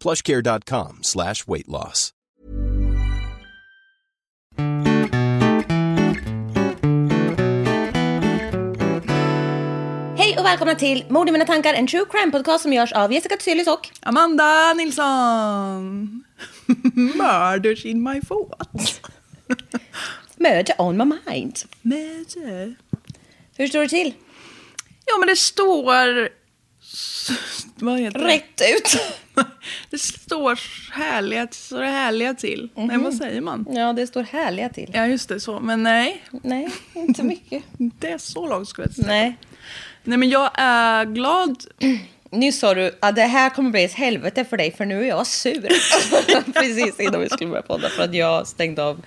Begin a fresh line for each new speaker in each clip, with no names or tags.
plushcare.com slash weight loss.
Hej och välkomna till Mord i mina tankar, en true crime podcast som görs av Jessica Thyselius och
Amanda Nilsson! Murders in my thoughts.
Murder on my mind.
Murder.
Hur står det till?
Ja, men det står... s- Vad heter det?
Rätt ut.
Det står härliga, så det härliga till. Nej,
Mhm.
vad säger man?
Ja, det står härliga till.
Ja, just det, så. Men nej,
Nej, inte mycket.
det är så långt skulle jag inte säga.
Nej.
Nej, men jag är glad.
Nyss sa du att ah, det här kommer bli ett helvete för dig för nu är jag sur. Precis innan vi skulle börja podda för att jag stängde av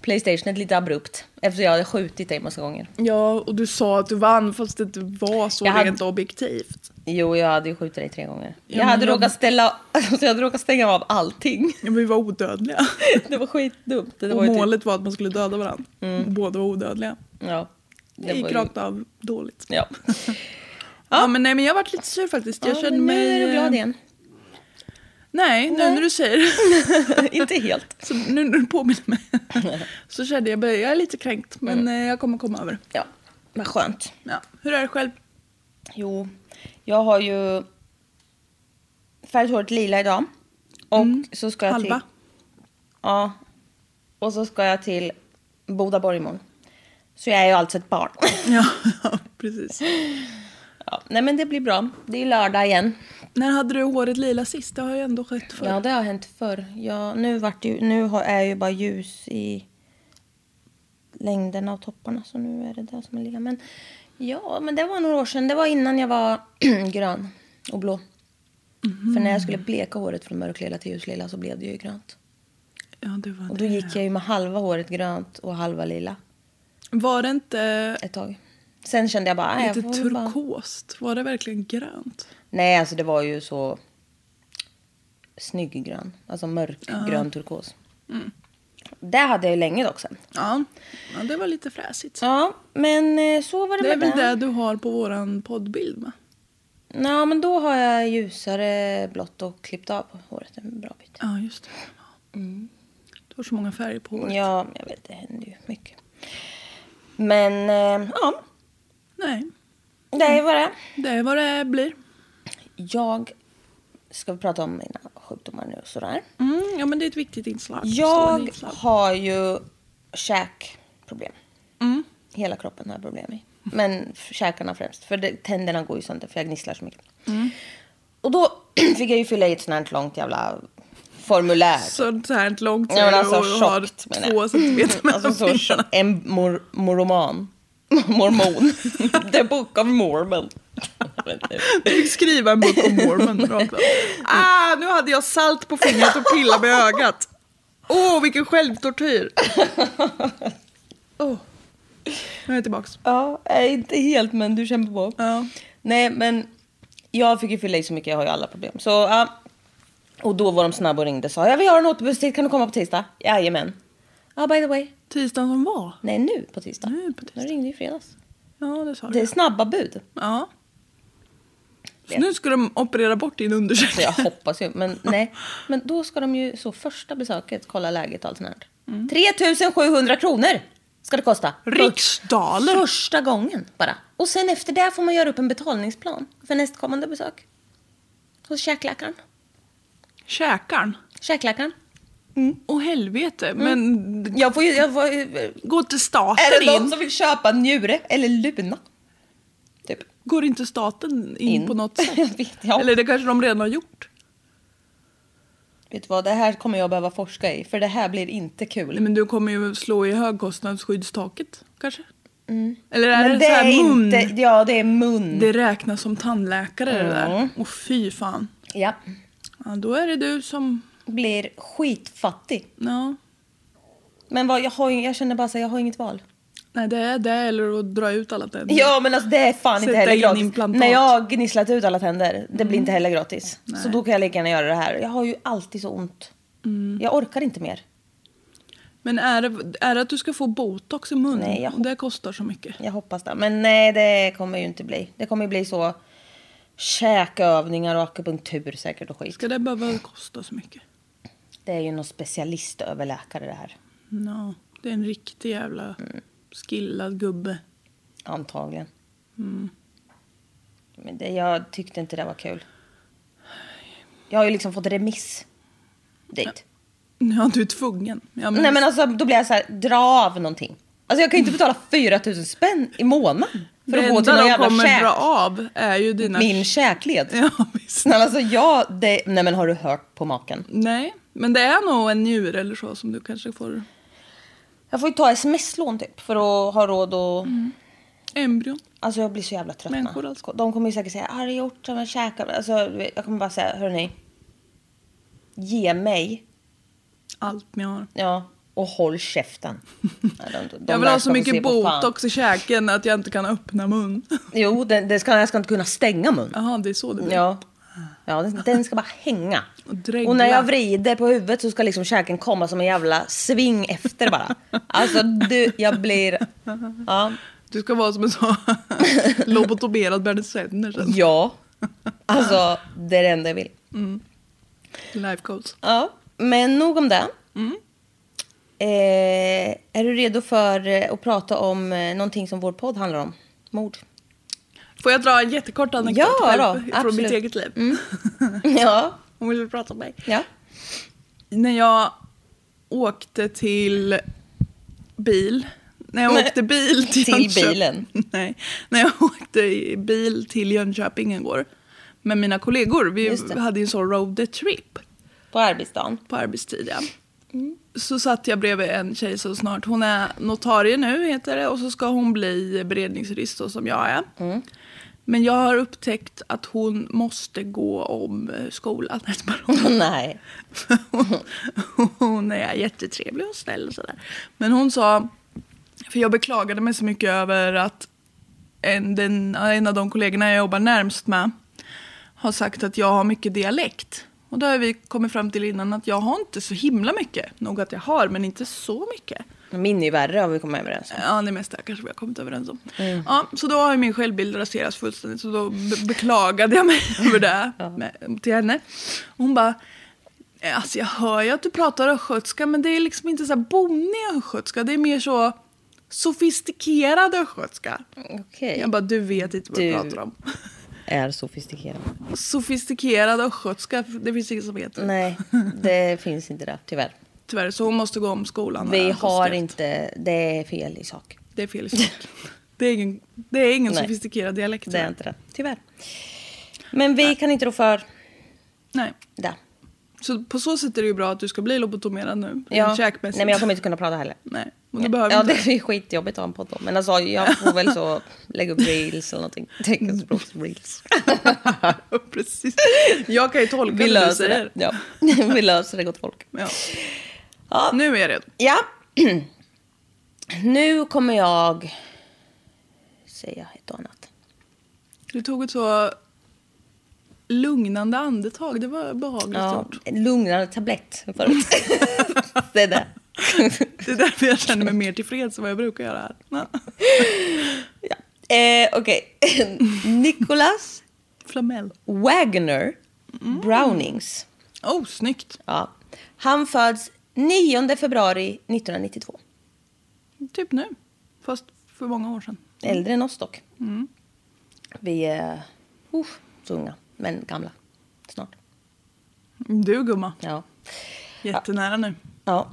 Playstationet lite abrupt efter jag hade skjutit dig massa gånger.
Ja, och du sa att du vann fast det inte var så
Jag hade-
rent objektivt.
Jo, jag hade ju skjutit dig tre gånger.
Ja,
Jag
men
hade
jag-
råkat ställa, alltså, jag hade råkat stänga av allting.
Ja, men vi var odödliga.
Det var skitdumt. Det
Och
var ju typ-
målet var att man skulle döda varandra. Båda var odödliga.
Ja.
Det
Det
gick
var ju...
rakt av dåligt.
Ja.
Ja. men nej men jag varit lite sur faktiskt. Jag
ja,
kände
men nu
mig...
är du glad
eh,
igen.
Nej, nu
Nej.
när du säger det.
inte helt.
så nu när du påminner mig. så kände jag, jag är lite kränkt men
Mm.
eh, jag kommer komma över det.
Ja, men skönt.
ja. Hur är det själv?
Jo, jag har ju färgat håret lila idag. Och så ska jag
Mm. Halva?
till... Ja. Och så ska jag till Bodaborg imorgon. Så jag är ju alltså ett barn.
Ja, ja, precis.
ja. Nej men det blir bra. Det är lördag igen.
När hade du håret lila sist? Det har ju ändå skett förr.
Ja, det har hänt förr. Ja, nu vart det ju, nu har, är jag ju bara ljus i längden av topparna. Så nu är det där som är lilla. Men ja, men det var några år sedan. Det var innan jag var grön och blå. För när jag skulle
Mm.
bleka håret från mörklila till ljuslila så blev det ju grönt.
Ja, det var
Och då
det.
gick jag ju med halva håret grönt och halva lila
Var det inte
ett tag. Sen kände jag bara... "Nej, jag
lite
får väl bara...
turkost? Var det verkligen grönt?
Nej, alltså det var ju så snygg grön. Alltså mörkgrön turkos.
Mm.
Det hade jag ju länge dock sen.
Ja, ja det var lite fräsigt.
Ja, men eh, så var det,
Det är
med
väl det du har på våran poddbild va?
Ja, men då har jag ljusare blått och klippt av håret en bra bit.
Ja, just det. Du har så många färger på håret.
Mm. Ja, men jag vet, det händer ju mycket. Men eh, ja,
Nej,
det var det.
det är vad det blir.
Jag ska prata om mina sjukdomar nu och sådär.
Mm, ja, men det är ett viktigt inslag.
Jag
Stående inslag.
har ju käkproblem.
Mm.
Hela kroppen har jag problem i. Men f- käkarna främst. För det, tänderna går ju sönder för jag gnisslar så mycket.
Mm.
Och då fick jag ju fylla i ett sånt här långt jävla formulär.
Sånt här ett långt
Ja, men alltså,
och har
tjockt, menar
två
jag.
centimeter mellan
Alltså så
fingrarna.
tjock- en mor, moroman. Mormon. The Book of Mormon.
Du fick skriva en bok om Mormon. rakt av. ah, nu hade jag salt på fingret och pilla med ögat. Åh, oh, vilken självtortyr. Åh. Nu är jag tillbaks.
ja, nej, inte helt men du känner på.
Ja.
Nej men jag fick ju fylla i så mycket, jag har ju alla problem. Så ja, Och då var de snabba och ringde och sa ja vi har en återbudstid, kan du komma på tisdag? Jajamän. Ja ah, by the way,
Tisdagen som var?
nej nu på tisdag.
Nu på tisdag.
De ringde ju i fredags.
Ja, det sa
Det är
du.
snabba bud.
Ja. Så
Det.
nu ska de operera bort din
Så
underkäke?
Alltså, jag hoppas ju, men nej. Men då ska de ju så första besöket kolla läget och allt sånt här.
Mm.
3700 kronor ska det kosta.
Riksdaler.
Första gången bara. Och sen efter det får man göra upp en betalningsplan för nästkommande besök. Hos käkläkaren.
Käkaren?
Käkläkaren. Mm.
Åh helvete, men
Jag får ju, jag får ju
gå till
Mm. Är
staten
det någon
in.
som vill köpa en njure eller luna? Typ.
Går inte staten in,
In.
på något sätt?
Jag vet, ja.
Eller det kanske de redan har gjort?
Vet du vad, det här kommer jag behöva forska i för det här blir inte
Nej,
kul.
men du kommer ju slå i högkostnadsskyddstaket kanske? Eller är
Mm. Men
det, så här mun?
inte, ja det är mun.
Det räknas som tandläkare det där.
Mm.
Och fy fan.
Ja.
Ja, då är det du som...
Blir skitfattig.
Ja.
Men vad, jag, har, ju- jag känner bara så här, jag har inget val.
Nej, det är det eller att dra ut alla tänder.
Ja men alltså det är fan
Mm. Sätta
inte heller
in
gratis.
implantat. Mm.
När jag har gnisslat ut alla tänder, det blir inte heller gratis. Så då kan jag lika gärna göra det här. Jag har ju alltid så ont.
Mm.
Jag orkar inte mer.
Men är det, är det att du ska få botox i munnen?
Nej, jag-
Och Det kostar så mycket.
Jag hoppas det. Men nej, det kommer ju inte bli. Det kommer ju bli så käkövningar och akupunktur säkert och skit.
Ska det behöva kosta så mycket?
Det är ju någon specialistöverläkare det här.
Ja, det är en riktig jävla skillad gubbe.
Antagligen.
Mm.
Men det, jag tyckte inte det var kul. Jag har ju liksom fått remiss dit.
Ja, du är tvungen. Ja, men,
Nej men alltså då blir jag så här, dra av någonting. Alltså jag kan ju inte betala 4000 spänn i månaden. För
det
att gå till
enda
någon
de
jävla
kommer
käk,
dra av är ju dina...
min käkled.
Ja, visst.
Snälla alltså jag, det, nej men har du hört på maken?
Nej, men det är nog en njure eller så som du kanske får...
Jag får ju ta sms-lån typ för att ha råd och...
Embryon.
Alltså jag blir så jävla trött.
Mm. Människor
na.
alltså.
De kommer ju säkert säga arg gjort, men käkar. Alltså jag kommer bara säga hörni. Ge mig.
Allt ni har.
Ja. Och håll käften. Nej, de- de
jag vill
där ska
ha så
få se
mycket
på fan.
botox i käken att jag inte kan öppna mun.
Jo, den, den ska, jag ska inte kunna stänga mun.
Jaha, det är så det blir.
Ja. Ja, den, den ska bara hänga.
Och dregla.
när jag vrider på huvudet så ska liksom käken komma som en jävla sving efter bara. Alltså du, jag blir... Ja,
Du ska vara som en sån lobotomerad Bernet Sänder sen.
ja. Alltså det är det enda jag vill.
Life goals.
Ja, men nog om det. Eh, är du redo för eh, att prata om eh, någonting som vår podd handlar om? Mord.
Får jag dra en jättekort anekdot
Ja,
själv
då,
från
absolut. Mm.
mitt eget liv?
Ja.
Om vill prata om mig.
ja.
När jag åkte till bil. När jag
Nej.
åkte bil till,
Till
Jönköping.
bilen.
Nej, när jag åkte i bil till Jönköping igår med mina kollegor. Vi
Just det.
hade ju en sån road trip.
På arbetsdagen.
på arbetstid. Ja. Så satt jag bredvid en tjej så snart. Hon är notarie nu heter det och så ska hon bli beredningsjurist så som jag är. Men jag har upptäckt att hon måste gå om eh, skolan. Nej, bara hon-
Nej.
hon, hon är jättetrevlig och snäll och sådär. Men hon sa, för jag beklagade mig så mycket över att en, den, en av de kollegorna jag jobbar närmst med har sagt att jag har mycket dialekt. Och då har vi kommit fram till innan att jag har inte så himla mycket. Nog att jag har, men inte så mycket.
Min är ju värre har vi kommit överens om.
Ja, det mesta kanske vi har kommit överens om.
Mm.
Ja, så då har ju min självbild raserats fullständigt så då be- beklagade jag mig över det med, till henne. Och hon bara, "Eh, alltså jag hör ju att du pratar östgötska men det är liksom inte så här bonnig östgötska, det är mer så sofistikerad östgötska.
Okej.
Jag bara, du vet inte vad du
Du-
pratar om.
Är sofistikerad.
Sofistikerad östgötska, det finns inget som heter.
Nej, det finns inte det tyvärr.
Tyvärr, så hon måste gå om skolan.
Vi
här,
har
konstigt.
inte, det är fel i sak.
Det är fel i sak. Det är ingen, det är ingen
Nej.
sofistikerad dialekt.
Det är
tyvärr.
inte det, tyvärr. Men vi kan inte rå för
Nej.
det.
Så på så sätt är det ju bra att du ska bli lobotomerad nu.
Ja.
rent
Nej
Käkmässigt.
men jag kommer inte kunna prata heller.
Nej, men du behöver
ja,
inte.
det är ju skitjobbigt att ha en podd om. Men alltså, jag får väl så lägga upp reels eller någonting. Teckenspråks reels.
Ja, Precis. Jag kan ju tolka
Vi
det du
löser
säger.
det. Ja. Vi löser det gott folk.
Ja.
Ja.
Nu är jag redo.
Ja. Nu kommer jag säga ett och annat.
Du tog ett så
lugnande andetag. Det var behagligt
Ja,
gjort.
en lugnande tablett förut. det är det.
Det är därför jag känner mig mer tillfreds än vad jag brukar göra här. Ja.
Eh, Okej. Nicholas
Flamel.
Wagner
Mm.
Brownings.
Oh, snyggt.
Ja. Han föds 9 februari 1992.
Typ nu. Fast för många år sedan.
Äldre än oss dock. Vi är uh, så unga, men gamla. Snart.
Du gumma.
Ja.
Jättenära nu.
ja.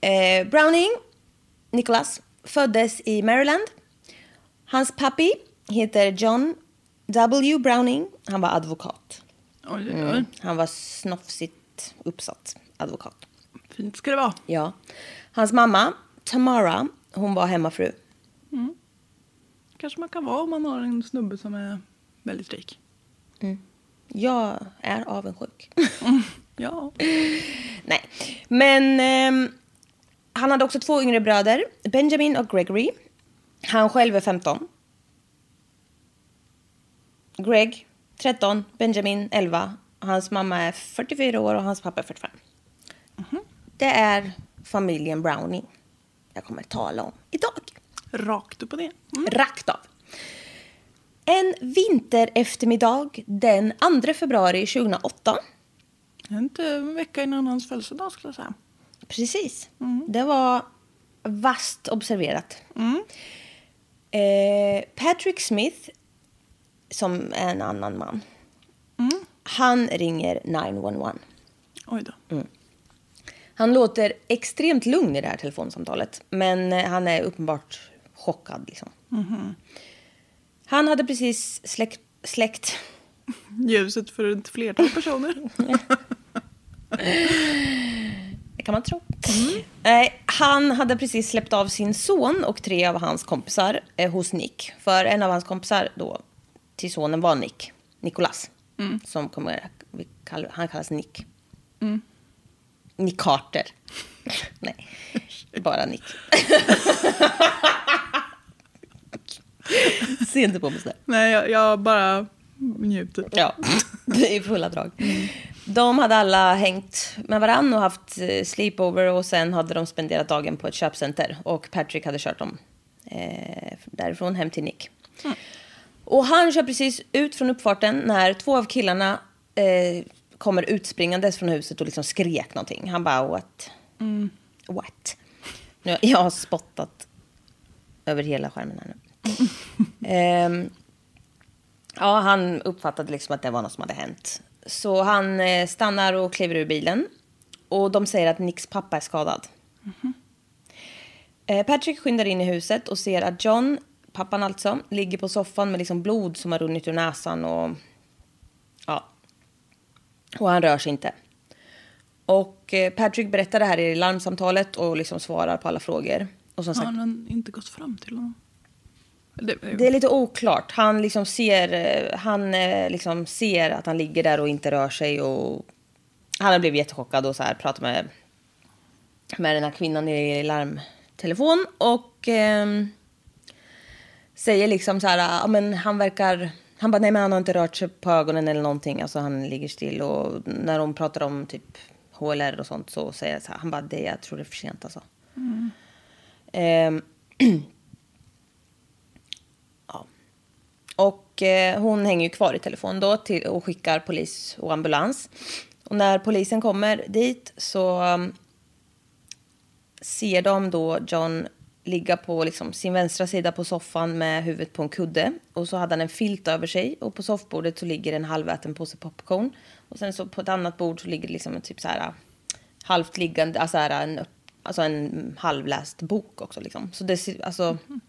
Eh, Browning, Nicholas, föddes i Maryland. Hans pappi heter John W. Browning. Han var advokat.
Oj, oj, oj.
Mm. Han var snofsigt uppsatt advokat.
Fint ska det vara.
Ja. Hans mamma, Tamara, hon var hemmafru.
Kanske man kan vara om man har en snubbe som är väldigt rik.
Jag är avundsjuk.
Ja.
Nej. Men ehm, han hade också två yngre bröder, Benjamin och Gregory. Han själv är 15. Greg, 13. Benjamin, 11. Hans mamma är 44 år och hans pappa är 45. Det är familjen Browning jag kommer att tala om idag.
Rakt upp och ner.
Rakt av. En vinter eftermiddag den 2 februari 2008.
Det är inte en vecka innan hans födelsedag skulle jag säga.
Precis. Det var vast observerat. Eh, Patrick Smith, som är en annan man, han ringer 911.
Oj då.
Mm. Han låter extremt lugn i det här telefonsamtalet, men eh, han är uppenbart chockad. Liksom. Han hade precis släkt... släkt
Ljuset för ett flertal personer.
Det kan man tro. Eh, han hade precis släppt av sin son och tre av hans kompisar eh, hos Nick. För en av hans kompisar då till sonen var Nick. Nicolas. Som kommer, vi kallar, han kallas Nick. Nick Carter. Nej, bara Nick. Se inte på mig sådär.
Nej, jag, jag bara njuter.
Ja, i fulla drag. De hade alla hängt med varann och haft eh, sleepover och sen hade de spenderat dagen på ett köpcenter och Patrick hade kört dem eh, därifrån hem till Nick. Och han kör precis ut från uppfarten när två av killarna eh, kommer utspringandes från huset och liksom skrek någonting. Han bara what? What? Nu, jag har spottat över hela skärmen här nu. Ehm, Ja, han uppfattade liksom att det var något som hade hänt. Så han eh, stannar och kliver ur bilen. Och de säger att Nicks pappa är skadad. Eh, Patrick skyndar in i huset och ser att John, pappan alltså, ligger på soffan med liksom blod som har runnit ur näsan och... Ja. Och han rör sig inte. Och eh, Patrick berättar det här i larmsamtalet och liksom svarar på alla frågor. Och som
Har
sagt,
han inte gått fram till honom? Det, eh,
det är lite oklart. Han liksom ser, eh, han eh, liksom ser att han ligger där och inte rör sig. Och han har blivit jättechockad och så här, pratar med, med den här kvinnan i larmtelefon. Och ehm, säger liksom så här, ja men han verkar... Han bara, nej men han har inte rört sig på ögonen eller någonting. Alltså han ligger still. Och när de pratar om typ HLR och sånt så säger jag så här, han bara, det, jag tror det är för sent alltså. Ehm, ja. Och eh, hon hänger ju kvar i telefon då till, och skickar polis och ambulans. Och när polisen kommer dit så um, ser de då John ligga på liksom, sin vänstra sida på soffan med huvudet på en kudde. Och så hade han en filt över sig och på soffbordet så ligger en halväten påse popcorn. Och sen så på ett annat bord så ligger det liksom en typ så här halvt liggande, alltså, här, en, upp- alltså en halvläst bok också liksom. Så det ser, alltså...
Mm,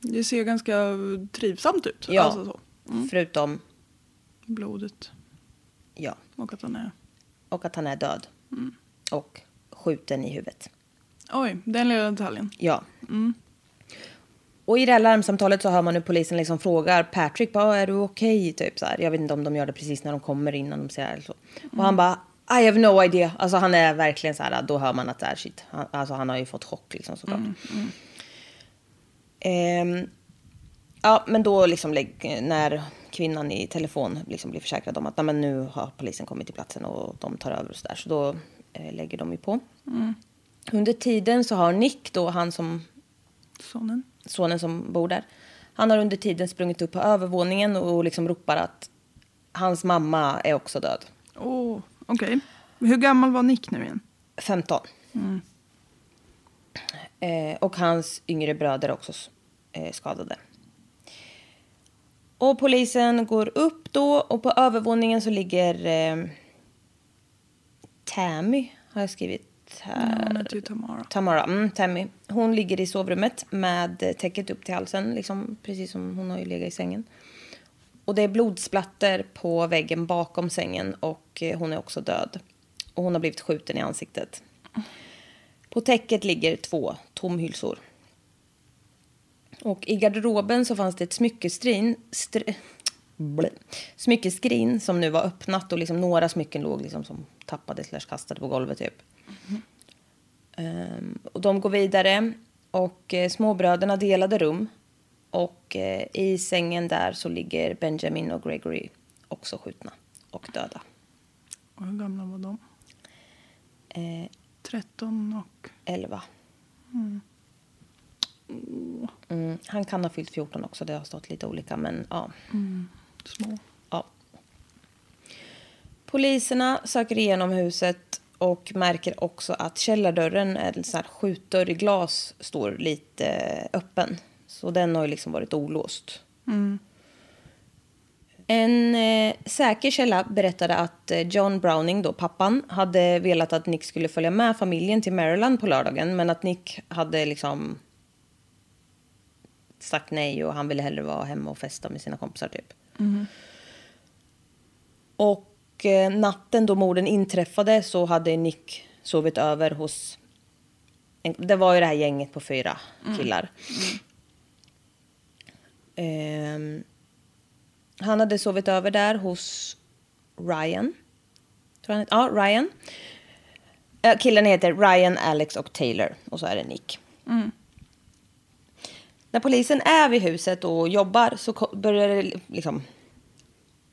det ser ganska trivsamt ut.
Ja.
Alltså så.
Förutom,
Blodet
ja.
och att han är...
Och att han är död. Och skjuten i huvudet.
Oj, den lilla detaljen.
Ja. Och i det här larmsamtalet så hör man hur polisen liksom frågar Patrick, bara, är du okej? Typ så här. Jag vet inte om de gör det precis när de kommer innan de ser det. Eller så. Och han bara, I have no idea. Alltså han är verkligen så här, då hör man att det är shit. Han, alltså han har ju fått chock liksom såklart. Ehm, ja, men då liksom lägg- när kvinnan i telefon liksom blir försäkrad om att Nej, men nu har polisen kommit till platsen och de tar över och sådär. Så då eh, lägger de ju på. Under tiden så har Nick då, han som
Sonen.
sonen som bor där. Han har under tiden sprungit upp på övervåningen och liksom ropar att hans mamma är också död.
Åh, oh, okej. Hur gammal var Nick nu igen?
15. Eh, och hans yngre bröder är också eh, skadade. Och polisen går upp då och på övervåningen så ligger eh, Tammy, har jag skrivit här.
Mm.
Hon hette ju Tamara.
Tamara, mm, Tammy. Hon ligger i sovrummet med täcket upp till halsen, liksom, precis som hon har ju legat i sängen. Och det är blodsplatter på väggen bakom sängen och eh, hon är också död. Och hon har blivit skjuten i ansiktet. På täcket ligger två tomhylsor. Och i garderoben så fanns det ett smyckeskrin, str, blä, smyckeskrin som nu var öppnat och liksom några smycken låg liksom som tappade slash kastade på golvet typ. Ehm, och de går vidare och eh, småbröderna delade rum. Och eh, i sängen där så ligger Benjamin och Gregory också skjutna och döda.
Och hur gamla var de?
Eh,
13 och...
11. Mm, han kan ha fyllt 14 också, det har stått lite olika men ja.
Små.
Ja. Poliserna söker igenom huset och märker också att källardörren, en sån här skjutdörr i glas, står lite eh, öppen. Så den har ju liksom varit olåst. En eh, säker källa berättade att eh, John Browning, då pappan, hade velat att Nick skulle följa med familjen till Maryland på lördagen. Men att Nick hade liksom sagt nej och han ville hellre vara hemma och festa med sina kompisar typ. Och eh, natten då morden inträffade så hade Nick sovit över hos... En, det var ju det här gänget på fyra killar. Ehm, han hade sovit över där hos Ryan. Tror han, het- ja, Ryan. Eh, Killen heter Ryan, Alex och Taylor. Och så är det Nick. När polisen är vid huset och jobbar så ko- börjar det liksom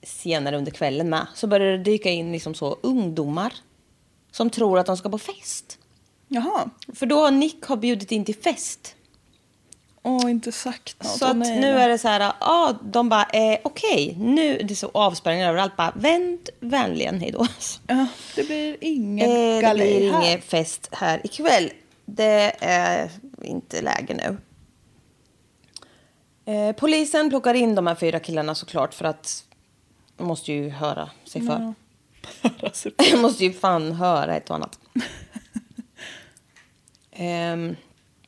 senare under kvällen med, så börjar det dyka in liksom så ungdomar som tror att de ska på fest.
Jaha.
För då har Nick har bjudit in till fest.
Åh, inte sagt något.
så
Åh,
att
nej,
nu
då.
är det så här, ja, de bara, eh, okej, nu, det är så avspärrningar överallt, bara vänd vänligen, hej då.
Ja, det blir ingen
Eh, det
galej
blir
här.
ingen fest här ikväll. Det är inte läge nu. Eh, polisen plockar in de här fyra killarna såklart för att de måste ju höra sig för. De måste ju fan höra ett och annat. Ehm,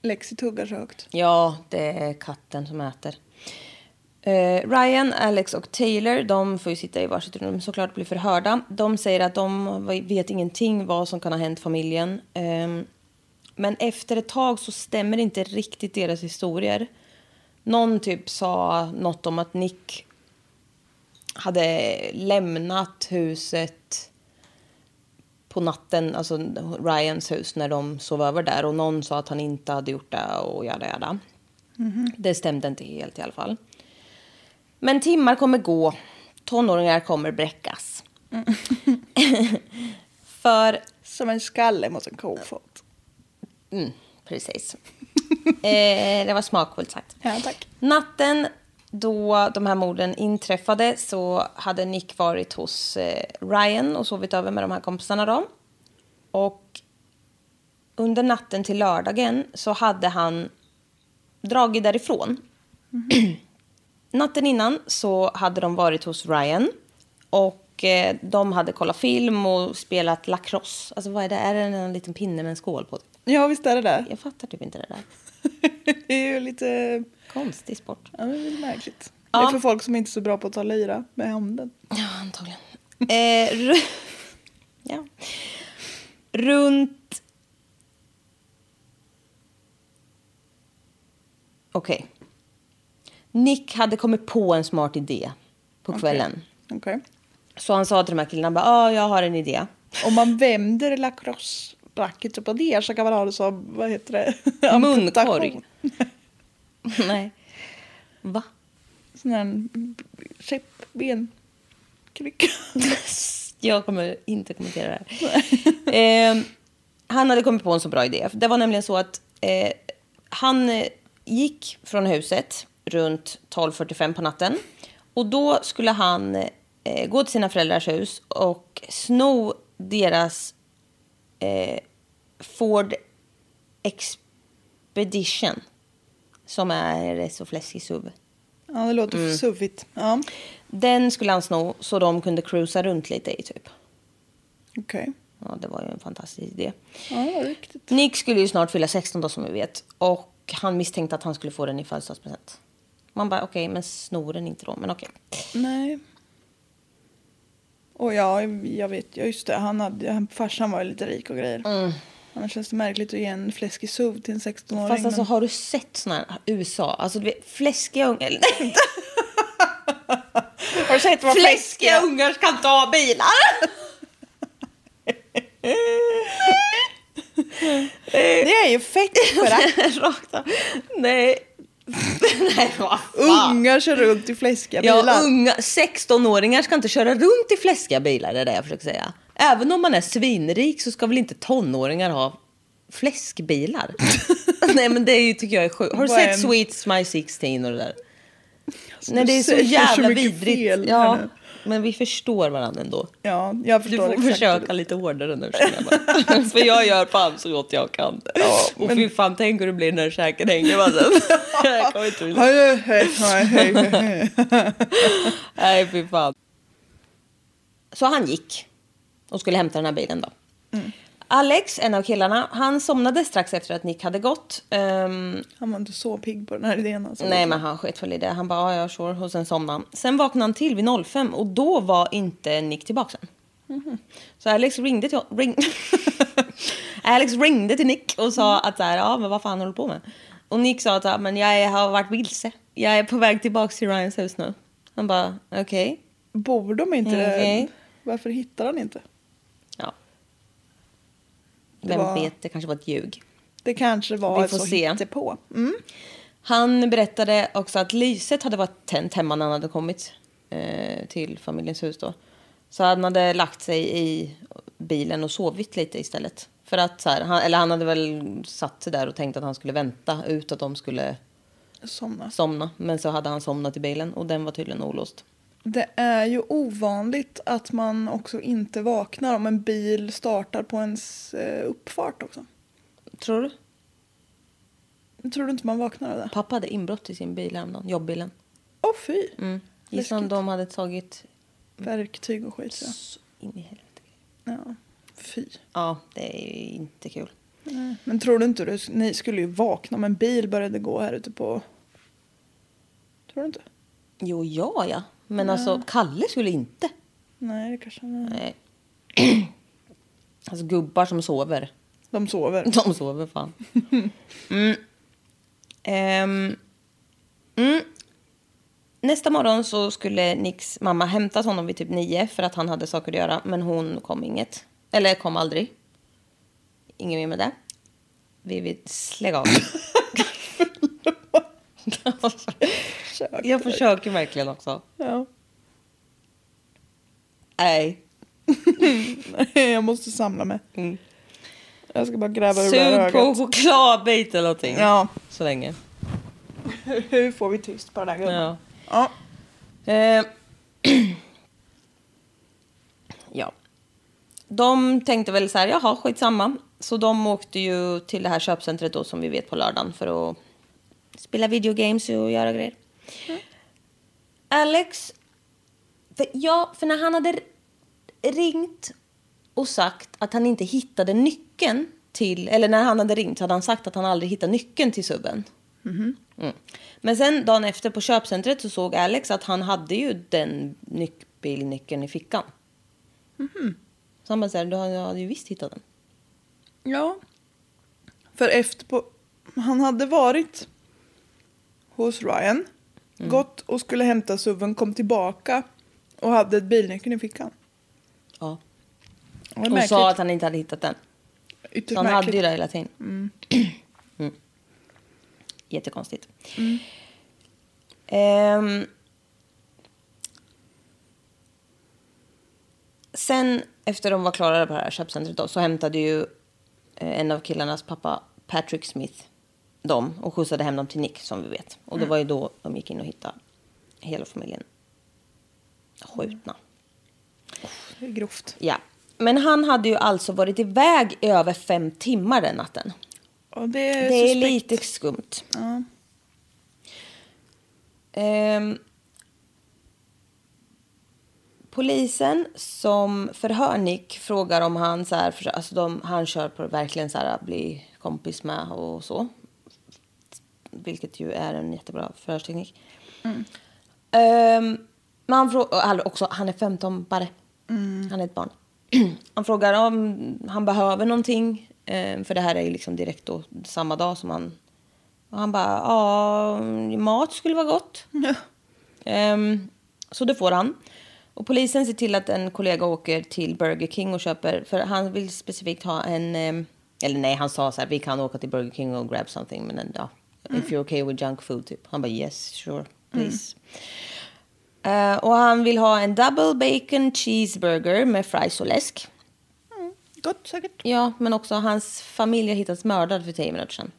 Lexi tuggar så högt.
Ja, det är katten som äter. Eh, Ryan, Alex och Taylor de får ju sitta i varsitt rum såklart och bli förhörda. De säger att de vet ingenting vad som kan ha hänt familjen. Ehm, men efter ett tag så stämmer inte riktigt deras historier. Någon typ sa något om att Nick hade lämnat huset på natten, alltså Ryans hus, när de sov över där. Och någon sa att han inte hade gjort det och jada jada. Det stämde inte helt i alla fall. Men timmar kommer gå. Tonåringar kommer bräckas. För
Som en skalle mot en kofot.
Mm, precis. eh, det var smakfullt sagt.
Ja, tack.
Natten då de här morden inträffade så hade Nick varit hos eh, Ryan och sovit över med de här kompisarna. Då. Och under natten till lördagen så hade han dragit därifrån. Natten innan så hade de varit hos Ryan och eh, de hade kollat film och spelat lacrosse. Alltså vad är det? Är det en liten pinne med en skål på?
Ja, visst är det där.
Jag fattar typ inte det där.
det är ju lite...
Konstig sport.
Ja, det är lite märkligt. Det
Ja.
är för folk som inte är så bra på att ta lira med handen.
Ja, antagligen. Eh, ru- ja. Runt... Okej. Nick hade kommit på en smart idé på kvällen.
Okej.
Så han sa till de här killarna bara, ja, jag har en idé.
Om man vänder lacrosse-racket upp och ner så kan man ha det som, vad heter det?
Munkorg.
Amputation.
Nej. Va?
sån här käpp, ben, krycka.
Jag kommer inte kommentera det här. eh, han hade kommit på en så bra idé. Det var nämligen så att eh, han eh, gick från huset runt 12.45 på natten. Och då skulle han eh, gå till sina föräldrars hus och sno deras eh, Ford Expedition. Som är så fläskig SUV.
Ja, det låter mm. suvigt. Ja,
Den skulle han sno så de kunde cruisa runt lite i typ.
okej.
Ja, det var ju en fantastisk idé.
Ja, det var riktigt.
Nick skulle ju snart fylla 16 då som vi vet. Och han misstänkte att han skulle få den i födelsedagspresent. Man bara okej, men snor den inte då. Men okej.
Nej. Och ja, jag vet, ja, just det, han hade, han, farsan var ju lite rik och grejer. Mm. Annars känns det märkligt att ge en fläskig suv till en 16-åring.
Fast alltså
men-
har du sett såna här USA? Alltså du vet, fläskiga ungar. Eller, nej,
Har du sett vad
fläskiga ungar kan ta bilar.
Det är ju fett för
Rakt av. Nej. nej, vad fan.
Ungar kör runt i fläskiga
Ja,
bilar.
unga, 16-åringar ska inte köra runt i fläskiga bilar, det är det jag försöker säga. Även om man är svinrik så ska väl inte tonåringar ha fläskbilar? Nej, men det är ju, tycker jag är sjukt. Har du
Vad är
sett
en- Alltså,
Sweets My 16 och det där? Nej,
du
det är så
säger så
jävla
mycket
vidrigt.
fel här
ja,
nu.
men vi förstår varandra ändå.
Ja, jag
Du
förstår
får
exakt.
försöka lite hårdare nu, känner jag bara. För jag gör fan så gott jag kan. och fy fan, tänk hur det blir när käken hänger. Alltså. jag kommer inte vilja.
Hej, hej, hej, hej, hej.
Nej, fy fan. Så han gick och skulle hämta den här bilen då. Mm. Alex, en av killarna, han somnade strax efter att Nick hade gått. Ehm,
Han var inte så pigg på den här idén alltså.
nej, men han sket väl i det. Han bara, "Ja, ja, sure. Och sen somnade han. Sen vaknade han till vid 05 och då var inte Nick tillbaka sen. Mhm. Så Alex ringde till, ring, Alex ringde till Nick och sa att så här, ja, men vad fan håller du på med? Och Nick sa att ja, men jag har varit vilse. Jag är på väg tillbaka till Ryans hus nu. Han bara, okej.
Bor de inte
Okej.
Varför hittar han inte?
Ja.
Det
Vem
var-
vet, det kanske var ett ljug.
Det kanske var
Vi
ett
får
så
se.
hittepå. Mm.
Han berättade också att lyset hade varit tänt hemma när han hade kommit eh, till familjens hus då. Så han hade lagt sig i bilen och sovit lite istället. För att så här, han, eller han hade väl satt sig där och tänkt att han skulle vänta ut att de skulle
Somna.
somna. Men så hade han somnat i bilen och den var tydligen olåst.
Det är ju ovanligt att man också inte vaknar om en bil startar på ens eh, uppfart också.
Tror du?
Tror du inte man vaknar av det?
Pappa hade inbrott i sin bil häromdagen, jobbbilen.
Åh fy!
Gissa Mm. om
Läskigt.
de hade tagit
Verktyg och skit ja.
så in i helvete.
ja. Fy.
Ja, det är ju inte kul.
Men tror du inte du, ni skulle ju vakna om en bil började gå här ute på... Tror du inte?
Jo, ja, ja. Men alltså, Kalle skulle inte.
Nej, det kanske han
Nej. alltså, gubbar som sover.
De sover.
De sover fan. Mm. Ehm. Mm. Nästa morgon så skulle Nicks mamma hämtat honom vid typ nio för att han hade saker att göra, men hon kom inget. Eller kom aldrig. Inget mer med det. Vi vill lägga av. Jag försöker verkligen också.
Ja.
Nej.
Jag måste samla mig. Jag ska bara gräva ur det här
Mm. Sug på
ögat.
chokladbit eller någonting.
Ja.
Så länge.
Hur får vi tyst på den här gubben?
Ja.
Ja.
Eh. ja. De tänkte väl så här, jaha, skitsamma. Så de åkte ju till det här köpcentret då som vi vet på lördagen för att spela videogames och göra grejer.
Mm.
Alex, för, ja, för när han hade ringt och sagt att han inte hittade nyckeln till, eller när han hade ringt så hade han sagt att han aldrig hittade nyckeln till subben. Mm. Men sen dagen efter på köpcentret så såg Alex att han hade ju den nyc- bilnyckeln i fickan.
Mhm.
Så han bara såhär, du har- jag hade ju visst hittat den.
Ja. För efter på... Han hade varit hos Ryan.
Mm.
Gått och skulle hämta suven, kom tillbaka och hade ett bilnyckeln i fickan.
Ja.
Det var
Och
märkligt.
sa att han inte hade hittat den.
Ytterst
Så han hade ju
märkligt.
det hela tiden. Mm. Mm. Jättekonstigt. Ehm, sen efter de var klara på det här köpcentret då, så hämtade ju eh, en av killarnas pappa Patrick Smith dem och skjutsade hem dem till Nick som vi vet. Och det var ju då de gick in och hittade hela familjen skjutna.
Det är grovt.
Ja. Men han hade ju alltså varit iväg i över fem timmar den natten.
Ja, det är,
Eh,
Det är
suspekt.
lite skumt.
Ja.
Ehm, polisen som förhör Nick frågar om han så här, för- alltså de, han kör på verkligen så här att bli kompis med och så. Vilket ju är en jättebra förhörsteknik. Ehm, men han frågar också, han är 15 bara. Han är ett barn. Han frågar om han behöver någonting. ehm, För det här är ju liksom direkt då, samma dag som han... Och han bara, ja, mat skulle vara gott. Ehm, så det får han. Och polisen ser till att en kollega åker till Burger King och köper, för han vill specifikt ha en, ehm, eller nej, han sa så här, vi kan åka till Burger King och grab something, men en- ja, if you're okay with junk food, typ. Han bara, yes, sure, please. Eh, och han vill ha en double bacon cheeseburger med fries och läsk.
Gott säkert.
Ja, men också hans familj har hittats mördad för 10 minuter sedan.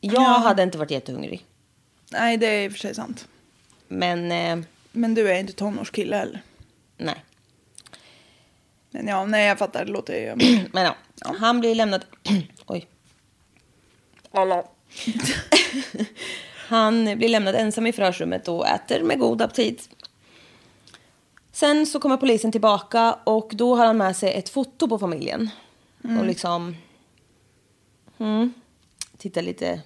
Jag
Ja.
hade inte varit jättehungrig,
Nej, det är i och för sig sant.
men eh,
Men du är inte tonårskille heller.
nej.
Men ja, nej jag fattar. Det låter ju...
Men ja, han blir lämnad... Oj. han blir lämnad ensam i förhörsrummet och äter med god aptit. Sen så kommer polisen tillbaka och då har han med sig ett foto på familjen. Och liksom... Mm, tittar lite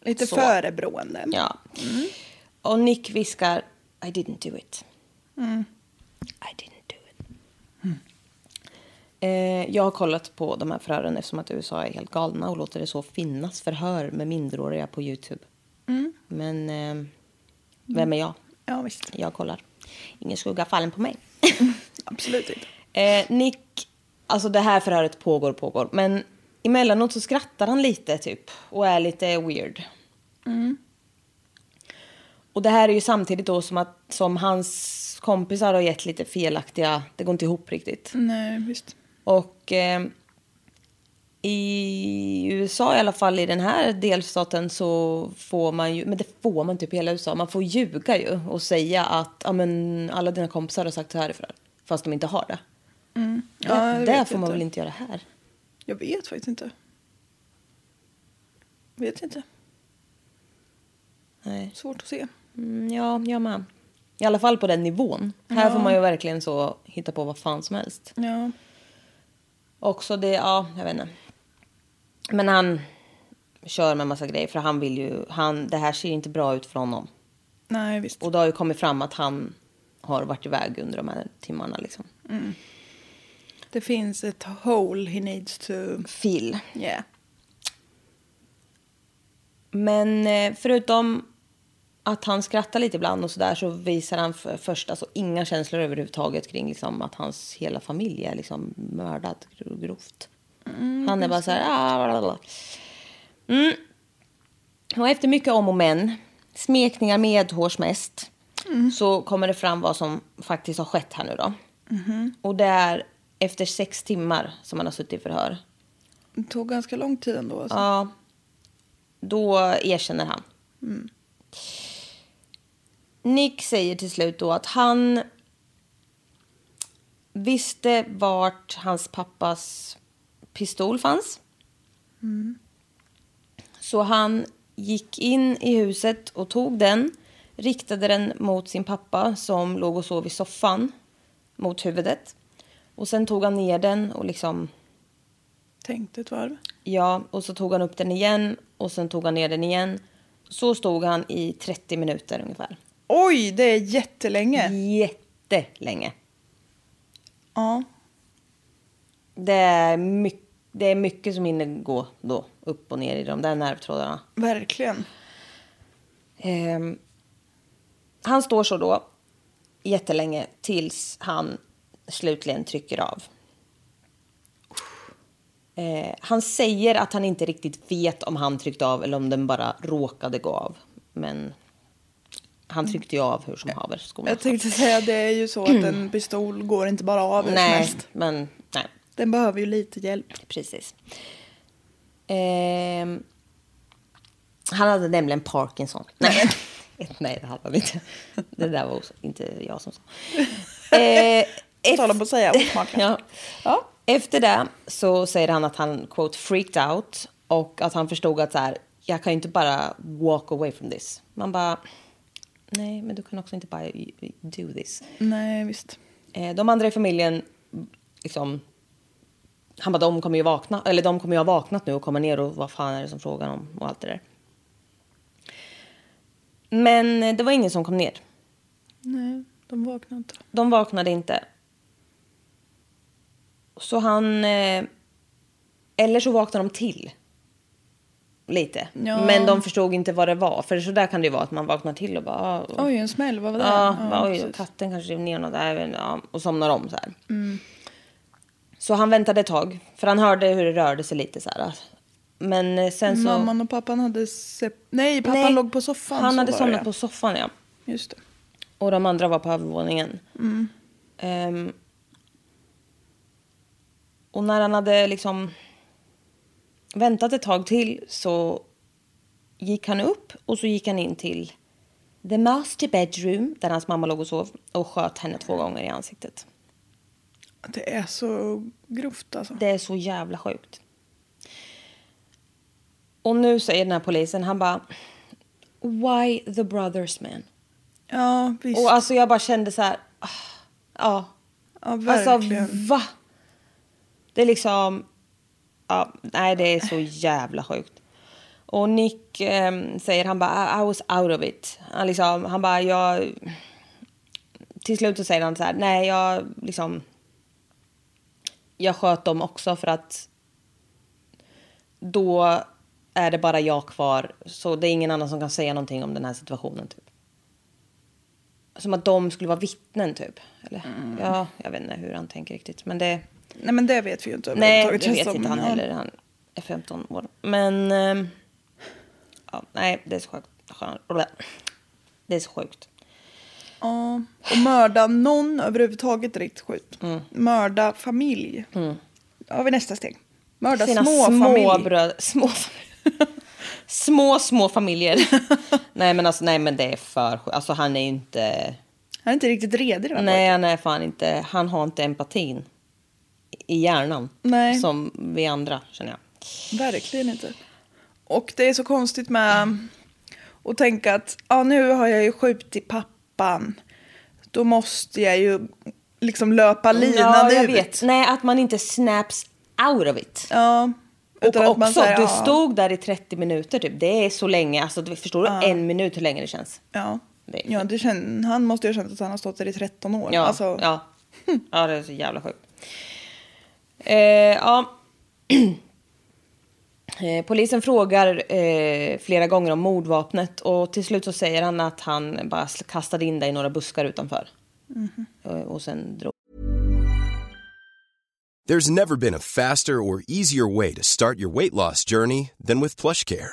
Lite
Så.
förebrående.
Ja. Och Nick viskar I didn't do it. I didn't do it. Eh, jag har kollat på de här förhören eftersom att USA är helt galna och låter det så finnas förhör med minderåriga på Youtube. Men eh, vem är jag?
Ja, visst.
Jag kollar. Ingen skugga fallen på mig.
Absolut inte.
Eh, Nick, alltså det här förhöret pågår och pågår, men emellanåt så skrattar han lite typ och är lite weird. Och det här är ju samtidigt då som att som hans kompisar har gett lite felaktiga, det går inte ihop riktigt.
Nej, visst.
Och eh, i USA i alla fall, i den här delstaten så får man ju, men det får man typ i hela USA, man får ljuga ju och säga att ja, men, alla dina kompisar har sagt så här ifrån, fast de inte har det.
Mm. Ja, jag
det där
vet
får man
inte.
väl inte göra här?
Jag vet faktiskt inte. Vet inte.
Nej.
Svårt att se.
Mm, ja, jag med. I alla fall på den nivån. Här får man ju verkligen så hitta på vad fan som helst.
Ja.
Också det, ja, jag vet inte. Men han kör med massa grejer för han vill ju, han, det här ser ju inte bra ut för honom.
Nej, visst.
Och det har ju kommit fram att han har varit iväg under de här timmarna liksom.
Det finns ett hole he needs to...
Phil.
Yeah.
Men eh, förutom att han skrattar lite ibland och sådär så visar han för först alltså, inga känslor överhuvudtaget kring liksom, att hans hela familj är liksom, mördad gro- grovt. han är bara så här... Ah, blablabla. Mm. Och efter mycket om och men, smekningar medhårs mest så kommer det fram vad som faktiskt har skett här nu. då. Och det är efter sex timmar som han har suttit i förhör.
Det tog ganska lång tid ändå. Alltså.
Ja. Då erkänner han. Nick säger till slut då att han visste vart hans pappas pistol fanns. Så han gick in i huset och tog den, riktade den mot sin pappa som låg och sov i soffan mot huvudet. Och sen tog han ner den och liksom
Tänkte ett varv.
Ja, och så tog han upp den igen och sen tog han ner den igen. Så stod han i 30 minuter ungefär.
Oj, det är jättelänge.
Mm.
Jättelänge.
Ja.
Det är, my- det är mycket som hinner gå då, upp och ner i de där nervtrådarna.
Verkligen.
Ehm, han står så då jättelänge tills han slutligen trycker av. Eh, han säger att han inte riktigt vet om han tryckte av eller om den bara råkade gå av. Men Han tryckte ju av hur som haver skon.
Mm. Jag tänkte säga det är ju så att en pistol går inte bara av hur som
Nej,
helst.
men nej,
Den behöver ju lite hjälp.
precis. Ehm, han hade nämligen Parkinson. Nej, nej det hade han inte. Det där var också inte jag som sa. Eh,
På tal om att säga osmakligt.
ja. Efter det så säger han att han quote freaked out och att han förstod att så här, jag kan ju inte bara walk away from this. Man bara, nej men du kan också inte bara do this.
Nej, visst.
Eh, De andra i familjen, liksom, han bara, de kommer ju vakna, eller de kommer ju ha vaknat nu och komma ner och vad fan är det som frågan om och allt det där. Men eh, det var ingen som kom ner.
Nej, de vaknar inte.
De vaknade inte. Så han... Eh, eller så vaknade de till. Lite.
Ja.
Men de förstod inte vad det var. För så där kan det ju vara att man vaknar till och bara... ah,
Oj, en smäll. Vad var det?
Ja, bara, oj,
precis.
katten kanske rev ner något där men, ja, och somnar om så här.
Mm.
Så han väntade ett tag, för han hörde hur det rörde sig lite så här. Men eh, sen så...
Mamman och pappan hade... Sep- Nej, pappan
Nej,
låg på soffan.
Han
så
hade
var
somnat
det.
på soffan, ja.
Just det.
Och de andra var på övervåningen. Ehm, och när han hade liksom väntat ett tag till så gick han upp och så gick han in till the master bedroom där hans mamma låg och sov och sköt henne två gånger i ansiktet.
Det är så grovt alltså.
Det är så jävla sjukt. Och nu säger den här polisen, han bara... Why the brothers man?
Ja, visst.
Och alltså jag bara kände så här... ah, Ja,
ja,
Alltså
verkligen.
va? Det är liksom... Ja, nej, det är så jävla sjukt. Och Nick ehm, säger, han bara, I, I was out of it. Han, liksom, han bara, jag... Till slut så säger han så här, nej, jag liksom... Jag sköt dem också för att då är det bara jag kvar. Så det är ingen annan som kan säga någonting om den här situationen. Typ. Som att de skulle vara vittnen typ. Eller? Ja, jag vet inte hur han tänker riktigt. Men det...
Nej, men det vet vi ju inte
Nej,
överhuvudtaget,
det
känns
vet
som.
inte han
Ja.
heller. Han är 15 år. Men... ehm, Ja, nej, det är så sjukt. Skön- Det är så sjukt.
Ja, och mörda någon överhuvudtaget är riktigt sjukt.
Mm.
Mörda familj. Då har vi nästa steg. Mörda
Sina
små,
små
familj.
bröder... Små, små, små familjer. nej, men alltså, nej, men det är för sjukt. Alltså, han är ju inte...
Han är inte riktigt redig den här
Nej,
pojken.
han är fan inte... Han har inte empatin i hjärnan.
Nej.
Som vi andra, känner jag.
Verkligen inte. Och det är så konstigt med att tänka att ja, nu har jag ju skjutit pappan. Då måste jag ju liksom löpa linan
jag
ut.
vet. Mm. Nej, att man inte snaps out of it.
Ja,
Och
utan
också,
att man säger,
du
ja,
stod där i 30 minuter typ. Det är så länge. Alltså, du förstår du en minut hur länge det känns?
Ja,
Det är-
ja det känn, han måste ju ha känt att han har stått där i 13 år.
Ja,
alltså,
ja. ja det är så jävla sjukt. Eh, ja. Eh, Polisen frågar eh, flera gånger om mordvapnet och till slut så säger han att han bara sl- kastade in det i några buskar utanför.
Mhm.
Eh, Och sen drog
There's never been a faster or easier way to start your weight loss journey than with PlushCare.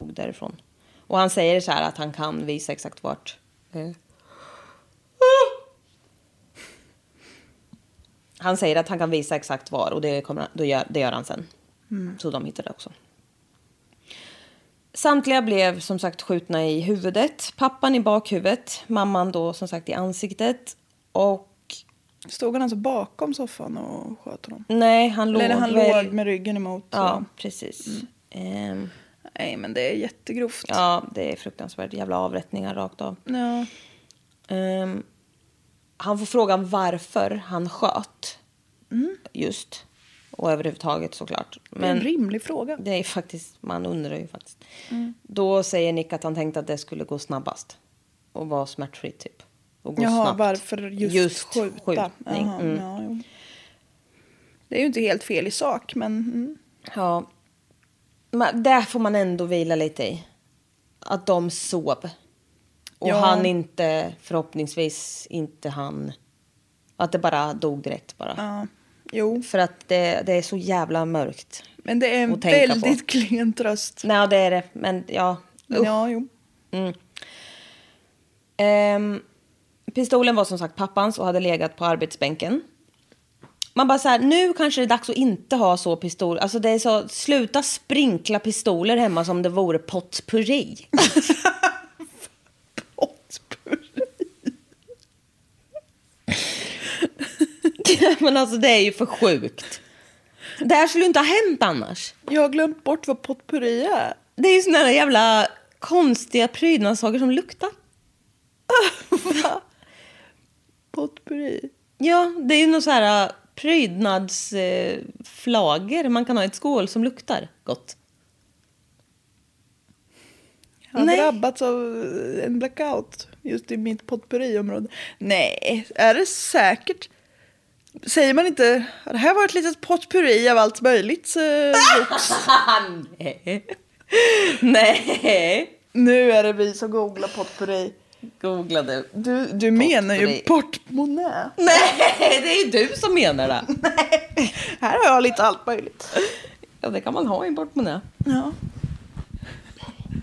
därifrån. Och han säger så här att han kan visa exakt vart. Eh. Han säger att han kan visa exakt var och det, kommer, han- då gör, det gör han sen.
Mm.
Så de hittar det också. Samtliga blev som sagt skjutna i huvudet. Pappan i bakhuvudet, mamman då som sagt i ansiktet. Och
Stod han alltså bakom soffan och sköt honom?
Nej, han låg
Eller han
väl...
låg med ryggen emot?
Ja,
så. Mm.
precis. Ehm,
Nej, men det är jättegrovt.
ja, det är fruktansvärt. Jävla avrättningar rakt av.
Ja.
Ehm, han får frågan varför han sköt. Just. Och överhuvudtaget såklart.
Mm. Det är en
Men
rimlig fråga.
det är faktiskt, man undrar ju faktiskt.
Mm.
Då säger Nick att han tänkte att det skulle gå snabbast. Och vara smärtfritt typ. Och gå
Jaha,
snabbt.
varför just, skjuta?
skjutning.
Jaha,
Mm.
ja, jo. Det är ju inte helt fel i sak, men... Mm.
Ja. Men där får man ändå vila lite i. Att de sov. Och
Ja.
han inte, förhoppningsvis inte han. Att det bara dog direkt bara.
Ja. Jo,
För att det, det är så jävla mörkt.
men det är en
Och tänka
väldigt
på.
klen tröst.
Nej, det är det. Men ja.
Men Ja, jo.
Ehm, pistolen var som sagt pappans och hade legat på arbetsbänken. Man bara så här, nu kanske det är dags att inte ha så pistol. Alltså det är så, sluta sprinkla pistoler hemma som det vore potpurri. Men alltså det är ju för sjukt. Det här skulle ju inte ha hänt annars.
Jag har glömt bort vad potpurri är.
Det är ju såna där jävla konstiga prydnadssaker som luktar.
Potpurri.
Ja, det är ju någon så här äh, prydnadsflagor eh, flagor man kan ha i ett skål som luktar gott.
Jag har
Nej.
drabbats av eh, en blackout just i mitt potpurriområde. Nej, är det säkert? Säger man inte det här var ett litet potpurri av allt möjligt? eh, jox."
Nej,
nu är det vi som googlar potpurri.
googla du.
Du, du menar ju
Potpurri.
portmonnä.
Nej, det är ju du som menar det.
Här har jag lite allt möjligt.
Ja, det kan man ha i en portmonnä.
Ja.